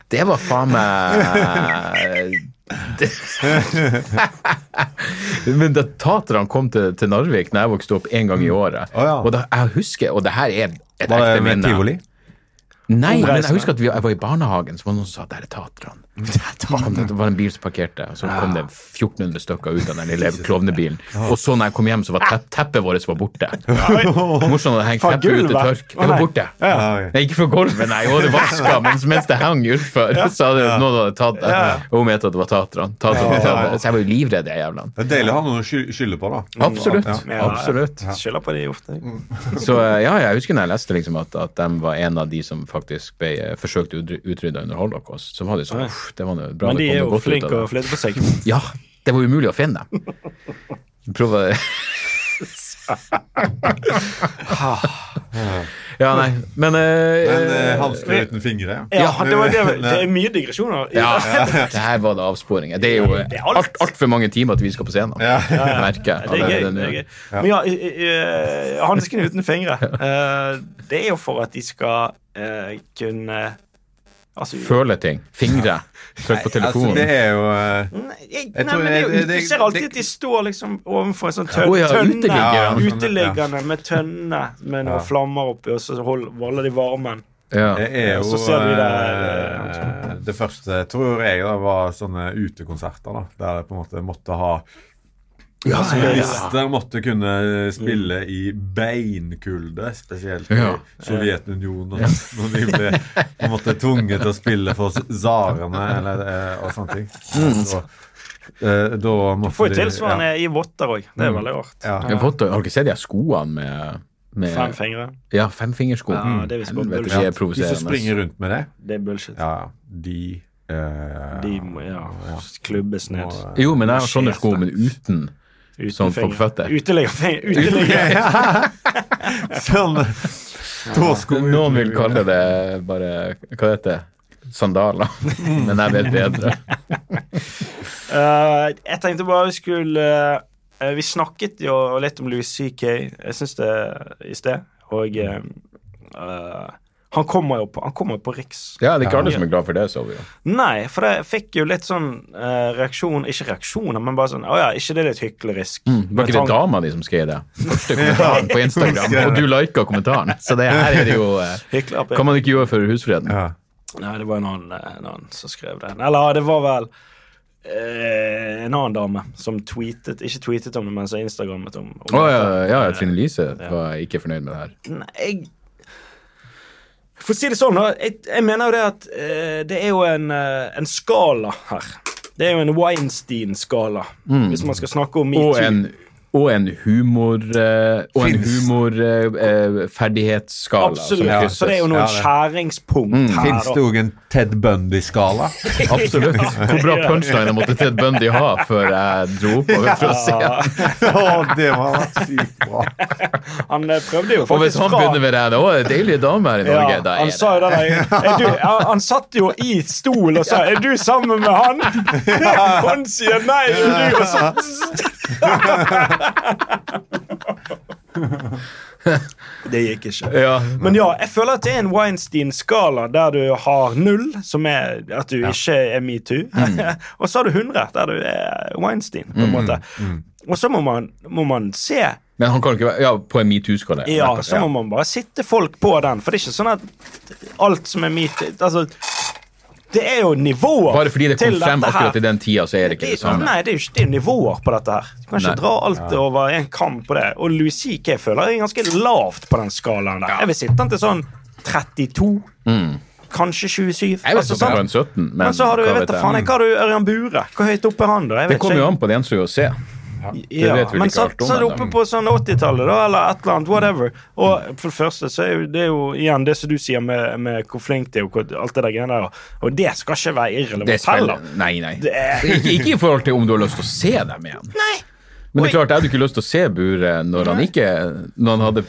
Det var faen eh, meg det. Men da taterne kom til, til Narvik når jeg vokste opp en gang i året
Mm. Å, ja.
Og da, jeg husker, og det her er et
Var
ekte
det med
minne
tivoli?
Nei, men jeg
Omreisende.
husker at vi, jeg var i barnehagen, så var det noen som sa der er taterne. Kom Det det var en bil som parkerte, og så kom det 1400 stykker ut av den lille klovnebilen. Og så når jeg kom hjem, så var tepp, teppet vårt var borte. Morsomt hadde hengt
Fra
teppet ut til
gulvet?
tørk.
Å,
Det var
nei.
borte. Nei, ikke fra gulvet, nei. Og det vaska mens, mens det hang utfor. Så hadde noen hadde tatt det. Og hun mente at det var taterne. Taterne, taterne. Så jeg var jo livredd de jævlene.
Det er deilig å ha noen å sky- skylde på, da.
Absolutt.
Ja.
Absolutt.
Skylder på de ofte.
Så eh, ja, jeg husker når jeg leste liksom at, at de var en av de som faktisk ble eh, forsøkt utrydda under holocaust. Så var det sånn, uff, det var noe bra
Men de
det kom
er
noe
jo
godt ut
flinke
av
å
det.
flytte på seg.
Ja, det var umulig å finne dem. Prøv å Ja, nei, men, eh,
Men eh, hansker uten fingre.
Ja, det, var, det, det er mye digresjoner. i-
Ja, det her var det avsporinger. Det er jo eh,
Det er alt.
alt altfor mange timer til vi skal på scenen. Merker jeg.
Det er gøy.
allerede
det
nå.
er gøy. Men ja, i- i- eh, hanskene uten fingre. eh, Det er jo for at de skal eh, kunne Altså
Føle ting. Fingre. Trykk på
Altså, det
telefonen.
er jo
Nei,
eh,
Mm, jeg,
Jeg
nei,
tror
men
jeg-
det,
det- det-
du ser alltid
det-
at de står liksom overfor en sånn tønne.
Å ja,
tønne
uteliggerne.
uteliggerne med tønne med noen
Ja.
flammer oppi, og så hold- holder de varmen.
Ja.
det er jo
Så ser vi
eh,
der,
Det første, tror jeg, da var sånne utekonserter, da. Der jeg på en måte måtte ha Solister måtte kunne eh, spille i beinkulde, spesielt i
Ja.
Sovjetunionen. Når de ble på en måte tvunget til å spille for tsarene eller, eh, og sånne ting.
Mm.
Så, eh, da måtte
Får jo
de-
tilsvarende i votter òg. Det er veldig rart.
Mm. Ja.
Jeg har, fått, har dere sett de her skoene med, med
Fem fingre.
Ja, femfingersko. Mm.
Ja, det er visst bare
Helvete,
bullshit.
de er
De som springer
provoserende.
rundt med det,
Det er bullshit.
ja, de eh,
De må ja, klubbes ned.
må-
Jo, men jeg har sånne sko, men uten.
Uten
Sånn for
fingre.
føtter.
Uteliggerfingre. Uteligger.
Sånn tåsko
Noen vil kalle det bare Hva heter det? Sandaler.
Mm.
Men jeg vet bedre.
Eh, jeg tenkte bare vi skulle eh, Vi snakket jo litt om Louis CK, jeg syns det, i sted, og eh,
Mm.
eh, han kommer jo på, han kommer jo på Riks.
Ja, det er ikke alle som er glad for det, så vi jo.
Nei, for jeg fikk jo litt sånn eh, reaksjon Ikke reaksjoner, men bare sånn Å ja, ikke det er litt hyklerisk?
Mm, Var ikke det dama di som skrev det? Første kommentaren på Instagram, og du lika kommentaren. Så det her er det jo eh,
Hykler,
Kan man ikke gjøre for husfreden?
Ja.
Nei, det var en annen, eh, en annen som skrev det. Eller det var vel eh, en annen dame som tweetet Ikke tweetet om det, men som instagrammet om, om
Å ja,
dette.
ja, Trine Lise var ikke fornøyd med det her.
Nei, jeg For å si det sånn, da. Jeg, jeg mener jo det at eh, det er jo en, eh, en skala her. Det er jo en Weinstein-skala, hvis man skal snakke om
Mm. Og
metoo.
en, og en humor... eh, og en eh,
Finnes.
humorferdighetsskala.
Absolutt. så det er jo noen
Ja, det-
skjæringspunkt
Mm,
her.
Fins det
da.
òg en Ted Bundy-skala?
Absolutt. Hvor bra punchliner måtte Ted Bundy ha før jeg dro oppover for å se han?
Å, det må ha vært sykt bra.
Han eh, prøvde jo
Og hvis
faktisk
han
fra-
begynner med det, det er deilige damer her i Norge.
Ja,
da er
han
det-
sa jo det der, er du, ja, Han satt jo i stol og sa 'Er du sammen med han?' Han sier nei, og du og så Det gikk ikke.
Ja.
Men ja, jeg føler at det er en Weinstein-skala der du har null, som er at du ikke er metoo,
Mm.
og så har du 100, der du er Weinstein, på en måte.
Mm.
Og så må man, må man se
Men han kan ikke være Ja, på en metoo-skala.
Ja, så må man bare sitte folk på den, for det er ikke sånn at alt som er metoo Altså, det er jo nivåer
Bare fordi det kom
til
frem
dette her.
akkurat i den tida, så er det ikke det
Det,
samme.
nei, det er jo ikke det er nivåer på dette her. Du kan ikke
Nei.
dra alt over en kam på det. Og Louis C.K. føler jeg er ganske lavt på den skalaen der. Jeg vil sitte den til sånn 32, kanskje 27.
Mm. Jeg vet ikke om det var
sånn.
en 17, men,
Men så har du,
hva
jeg vet da faen, jeg, hva har du Ørjan Bure? Hvor høyt oppe er han, da? Jeg
Det
vet
kommer
ikke.
jo an på den som vil se.
Ja,
vet vi
men
ikke
så,
alt om
så er det
ennå,
oppe
men- um,
på sånn 80-tallet, da, eller et eller annet. Whatever. Og for det første så er jo det er jo igjen det som du sier med, med hvor flink det er, og hvor, alt det der greiene der. Og det skal ikke være
Det
irrelevant
spiller
heller.
Nei, nei.
Det er-
Ikke, ikke i forhold til om du har lyst til å se dem igjen. Men det er klart, jeg hadde ikke lyst til å se Bure når han ikke Når han hadde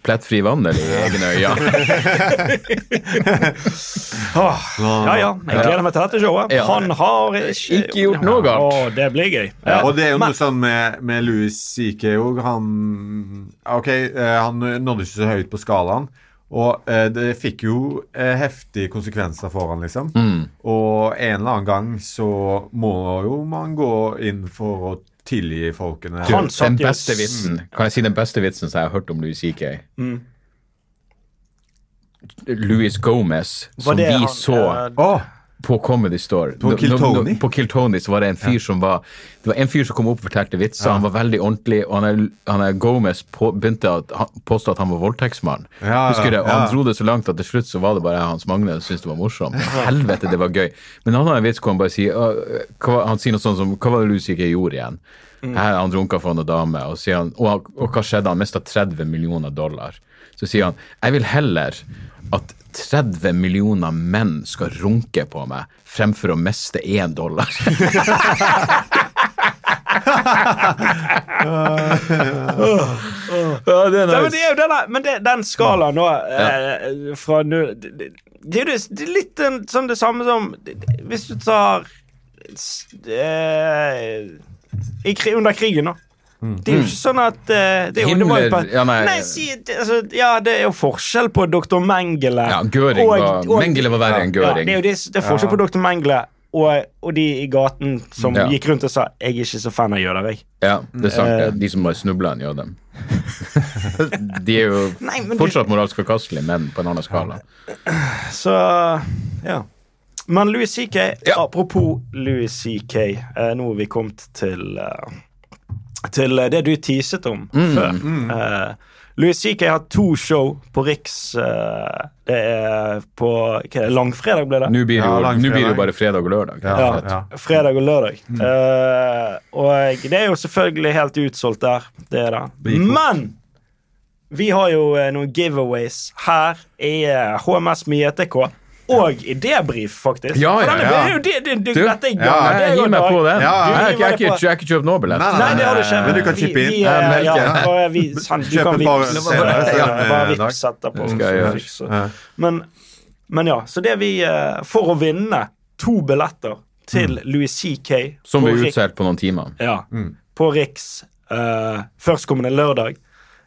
plettfri vandel i egne øyne.
Åh, ja, ja. Jeg gleder meg til dette showet.
Ja.
Han har ikke,
Ikke gjort noe galt.
Åh, det blir gøy.
Ja, og det er jo
Men-
noe sånn med, med Louis C.K. òg. Han Ok, eh, han nådde ikke så høyt på skalaen. Og eh, det fikk jo eh, heftige konsekvenser for han, liksom. Og en eller annen gang så må jo man gå inn for å tilgi folkene.
Han satt
Den
jo-
beste vitsen Kan jeg si den beste vitsen som jeg har hørt om Louis C.K.?
Mm.
Louis Gomez, som vi
det han-
så
eh,
Åh,
på Comedy Store. Nå-
Kill
nå-
Tony?
nå- På Kill Tony så var det en fyr som var Det var en fyr som kom opp og fortalte vitser, han var veldig ordentlig, og han er, han er Gomez på, begynte å han- påstå at han var voldtektsmann.
Ja,
Husker du? Og
ja.
han dro det så langt at til slutt så var det bare jeg og Hans Magne som syntes det var morsomt. Helvete, det var gøy. Men han har en vits hvor han bare sier «Å, hva, Han sier noe sånt som Hva var det Louis ikke gjorde igjen?
Mm.
Her, han drunka for noen dame, og, sier han, og, og hva skjedde? Han mista 30 millioner dollar. Så sier han Jeg vil heller at 30 millioner menn skal runke på meg fremfor å miste én dollar. ja, det er
Nei, men
nice.
det er jo denne, men det, den skalaen nå eh, fra null det, det, det er jo det, det er litt den, sånn det samme som det- det- Hvis du tar s- eh, i, kri- Under krigen, da. Det er jo ikke sånn at eh, det, er jo, det var
Himmler-
jo på-
Mm. ja, nei.
si, det, altså, ja, det er jo forskjell på dr. Mengele
Ja, Göring var- Mengele var verre enn Göring.
Ja, det er jo det, det er forskjell på dr. Mengele og, og de i gaten som
Ja.
gikk rundt og sa 'Jeg er ikke så fan av jøder', jeg.
Ja, det er sant. det. De som bare snubla en jøde. De er jo
Nei, men du-
fortsatt moralsk forkastelige, men på en annen skala.
Så ja. Men Louis CK, apropos Louis CK, eh, nå er vi kommet til eh, Til eh, det du teaset om før. Eh, Louis CK har to show på Riks. Eh, det er på hva er det, langfredag, ble det?
Nå blir det
Ja,
jo,
langfredag.
nå blir det jo bare fredag og lørdag.
Ja.
Ja, fredag og lørdag.
Mm.
Eh, og det er jo selvfølgelig helt utsolgt der. Det er det.
blir fort.
Men vi har jo eh, noen giveaways her i eh, HMS med JTK. Og i debrief, faktisk.
Ja, ja,
For denne-
ja.
Det er jo det, det, det,
Du,
dette er
ja,
gang. det er
jeg
jo
gir meg
dag.
på den.
Ja, ja.
Jeg har
Du gir
ikke-
meg
jeg Eh,
på-
har ikke kjøpt nå billett.
Nei,
Nei, det har du ikke.
Men du kan chippe inn.
Vi, vi,
Jeg
eh,
melker.
ja, og vi, sant, du
Kjøp
kan
et par
vips-
senere,
Ja,
senere
bare
dag.
vips etterpå.
Det skal jeg
så
gjøre.
fiks det.
Mm, Ja.
Men, men ja, så det vi eh, For å vinne to billetter til Louis CK
Mm. Som
på
blir
Riks-
utsolgt på noen timer.
Ja.
Mm.
På Riks eh, førstkommende lørdag.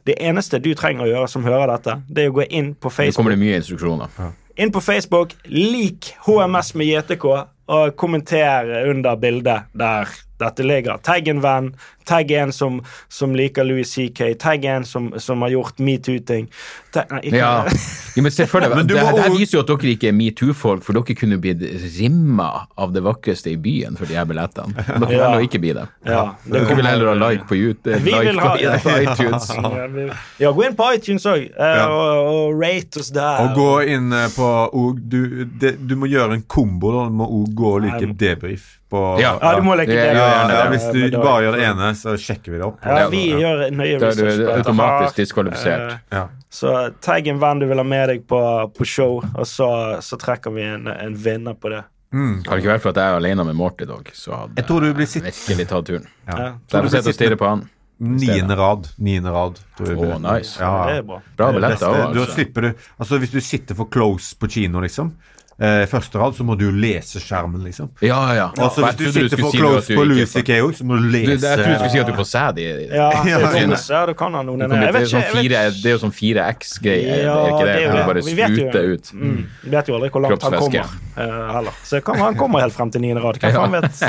Det eneste du trenger å gjøre som hører dette, det er å gå inn på
Nå kommer
Facebook.
det mye instruksjoner.
Inn på Facebook, Lik HMS med JTK, og kommenter under bildet der dette ligger. Tagg en venn, tagg en som, som liker Louis CK, tagg en som, som har gjort metoo-ting. Tagg- nei, ikke-
Ja. ja, men selvfølgelig.
Men du
det,
må
det her
også-
viser jo at dere ikke er metoo-folk, for dere kunne blitt rimma av det vakreste i byen for de her billettene. Dere
Ja.
velger å ikke bli det.
Ja, det
Dere
kommer-
vil heller ha like på, YouTube,
Vi
like
vil ha-
på, på iTunes.
Ja, gå inn på iTunes òg, eh,
Ja.
og, og rate oss der.
Og gå inn eh, på og, du, det, du må gjøre en kombo. Da. Du må òg gå og
Nei,
like
jeg må-
debrief på
Ja.
Ja, du må leke
Ja,
det.
ja,
gjør
ja,
gjerne
Hvis du bare gjør det ene, så sjekker vi det opp.
Ja, vi gjør nøye
Da er
research.
du
på dette.
automatisk diskvalifisert.
Eh,
Ja.
Så tagg en venn du vil ha med deg på, på show, og så, så trekker vi en, en vinner på det.
Kan det ikke være for at jeg er alene med Morty, dog, så hadde
Jeg tror du blir
jeg
sitt
virkelig tatt turen.
ja.
Så jeg får sitte og stirre på han.
niende rad. Niende rad. tror jeg
Å,
blir.
nice.
Ja.
Det er bra.
Bra
Neste,
billetter òg,
da
altså.
slipper du Altså Hvis du sitter for close på kino, liksom, eh, første rad, så må du lese skjermen, liksom.
Ja, ja.
Altså
Jeg
Hvis du
trodde
sitter
skulle
for
si noe at
close
du
på
ikke
Louis
får-
C.K. også, så må du
Du,
lese
jeg trodde du skulle si at du får sæd i
Ja, det
Ja,
er
fine.
bonus. ja, da kan han noen
Det
Jeg
kommer
vet
til sånn
ikke. jeg
fire,
vet-
det er jo sånn 4X-greie.
Ja,
det er ikke det,
jo
det bare
Vi vet jo-
spruter ut.
Mm, vi vet jo aldri hvor langt han
Kroppsvæske.
kommer. eh, heller. Så kan, han kommer helt frem til niende rad. Hvem faen vet?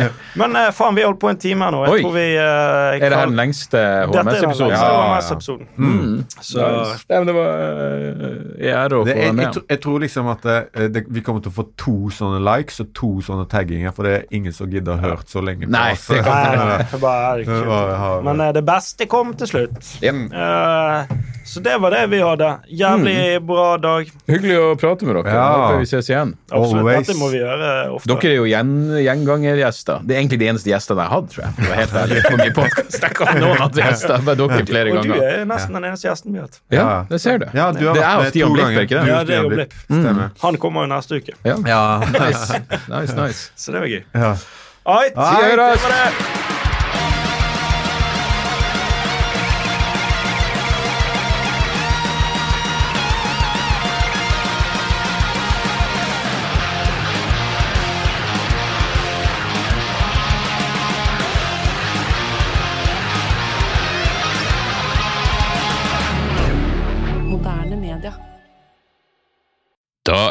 eh. men eh, faen, vi har holdt på en time her nå. Jeg
Oi.
tror vi eh,
Er det her
kan-
den lengste
Dette er den
HMS-episoden?
lengste
Ja, ja.
HMS-episoden.
Mm.
Så
Nei, men det var eh, i ære å få
det, jeg,
deg
jeg,
med.
tro- jeg tror liksom at eh, det, vi kommer til å få to sånne likes og to sånne tagginger, for det er ingen som gidder å hørt så lenge på
Nei,
oss.
det
Nei, nei, det bare er
Det var- har-
kult. Men eh, det beste kom til slutt.
Ja.
Eh, så det var det vi hadde. Jævlig bra dag.
Hyggelig å prate med dere.
Ja.
Håper vi ses igjen.
Absolutt.
Always.
Dette må vi gjøre eh, ofte.
Dere er jo gjen, gjengangergjester. Det er egentlig de eneste gjestene jeg har hatt, tror jeg. Det var helt ærlig på min podcast. Jeg har ikke hatt noen andre gjester, bare dere flere
Og du
ganger.
er nesten den eneste gjesten vi har hatt.
Ja, det ser du.
Ja, du har
det
vært
er
med
jo Stian
to
Blipp, er
ganger.
ikke
Du
det?
Ja,
og
det er jo
Stian
Blipp.
Mm.
Stemmer.
Han kommer jo neste uke,
Ja.
Ja.
Nice, nice. nice.
så det var gøy.
ja.
Alright,
Alright.
det var det.
Moderne media.
Da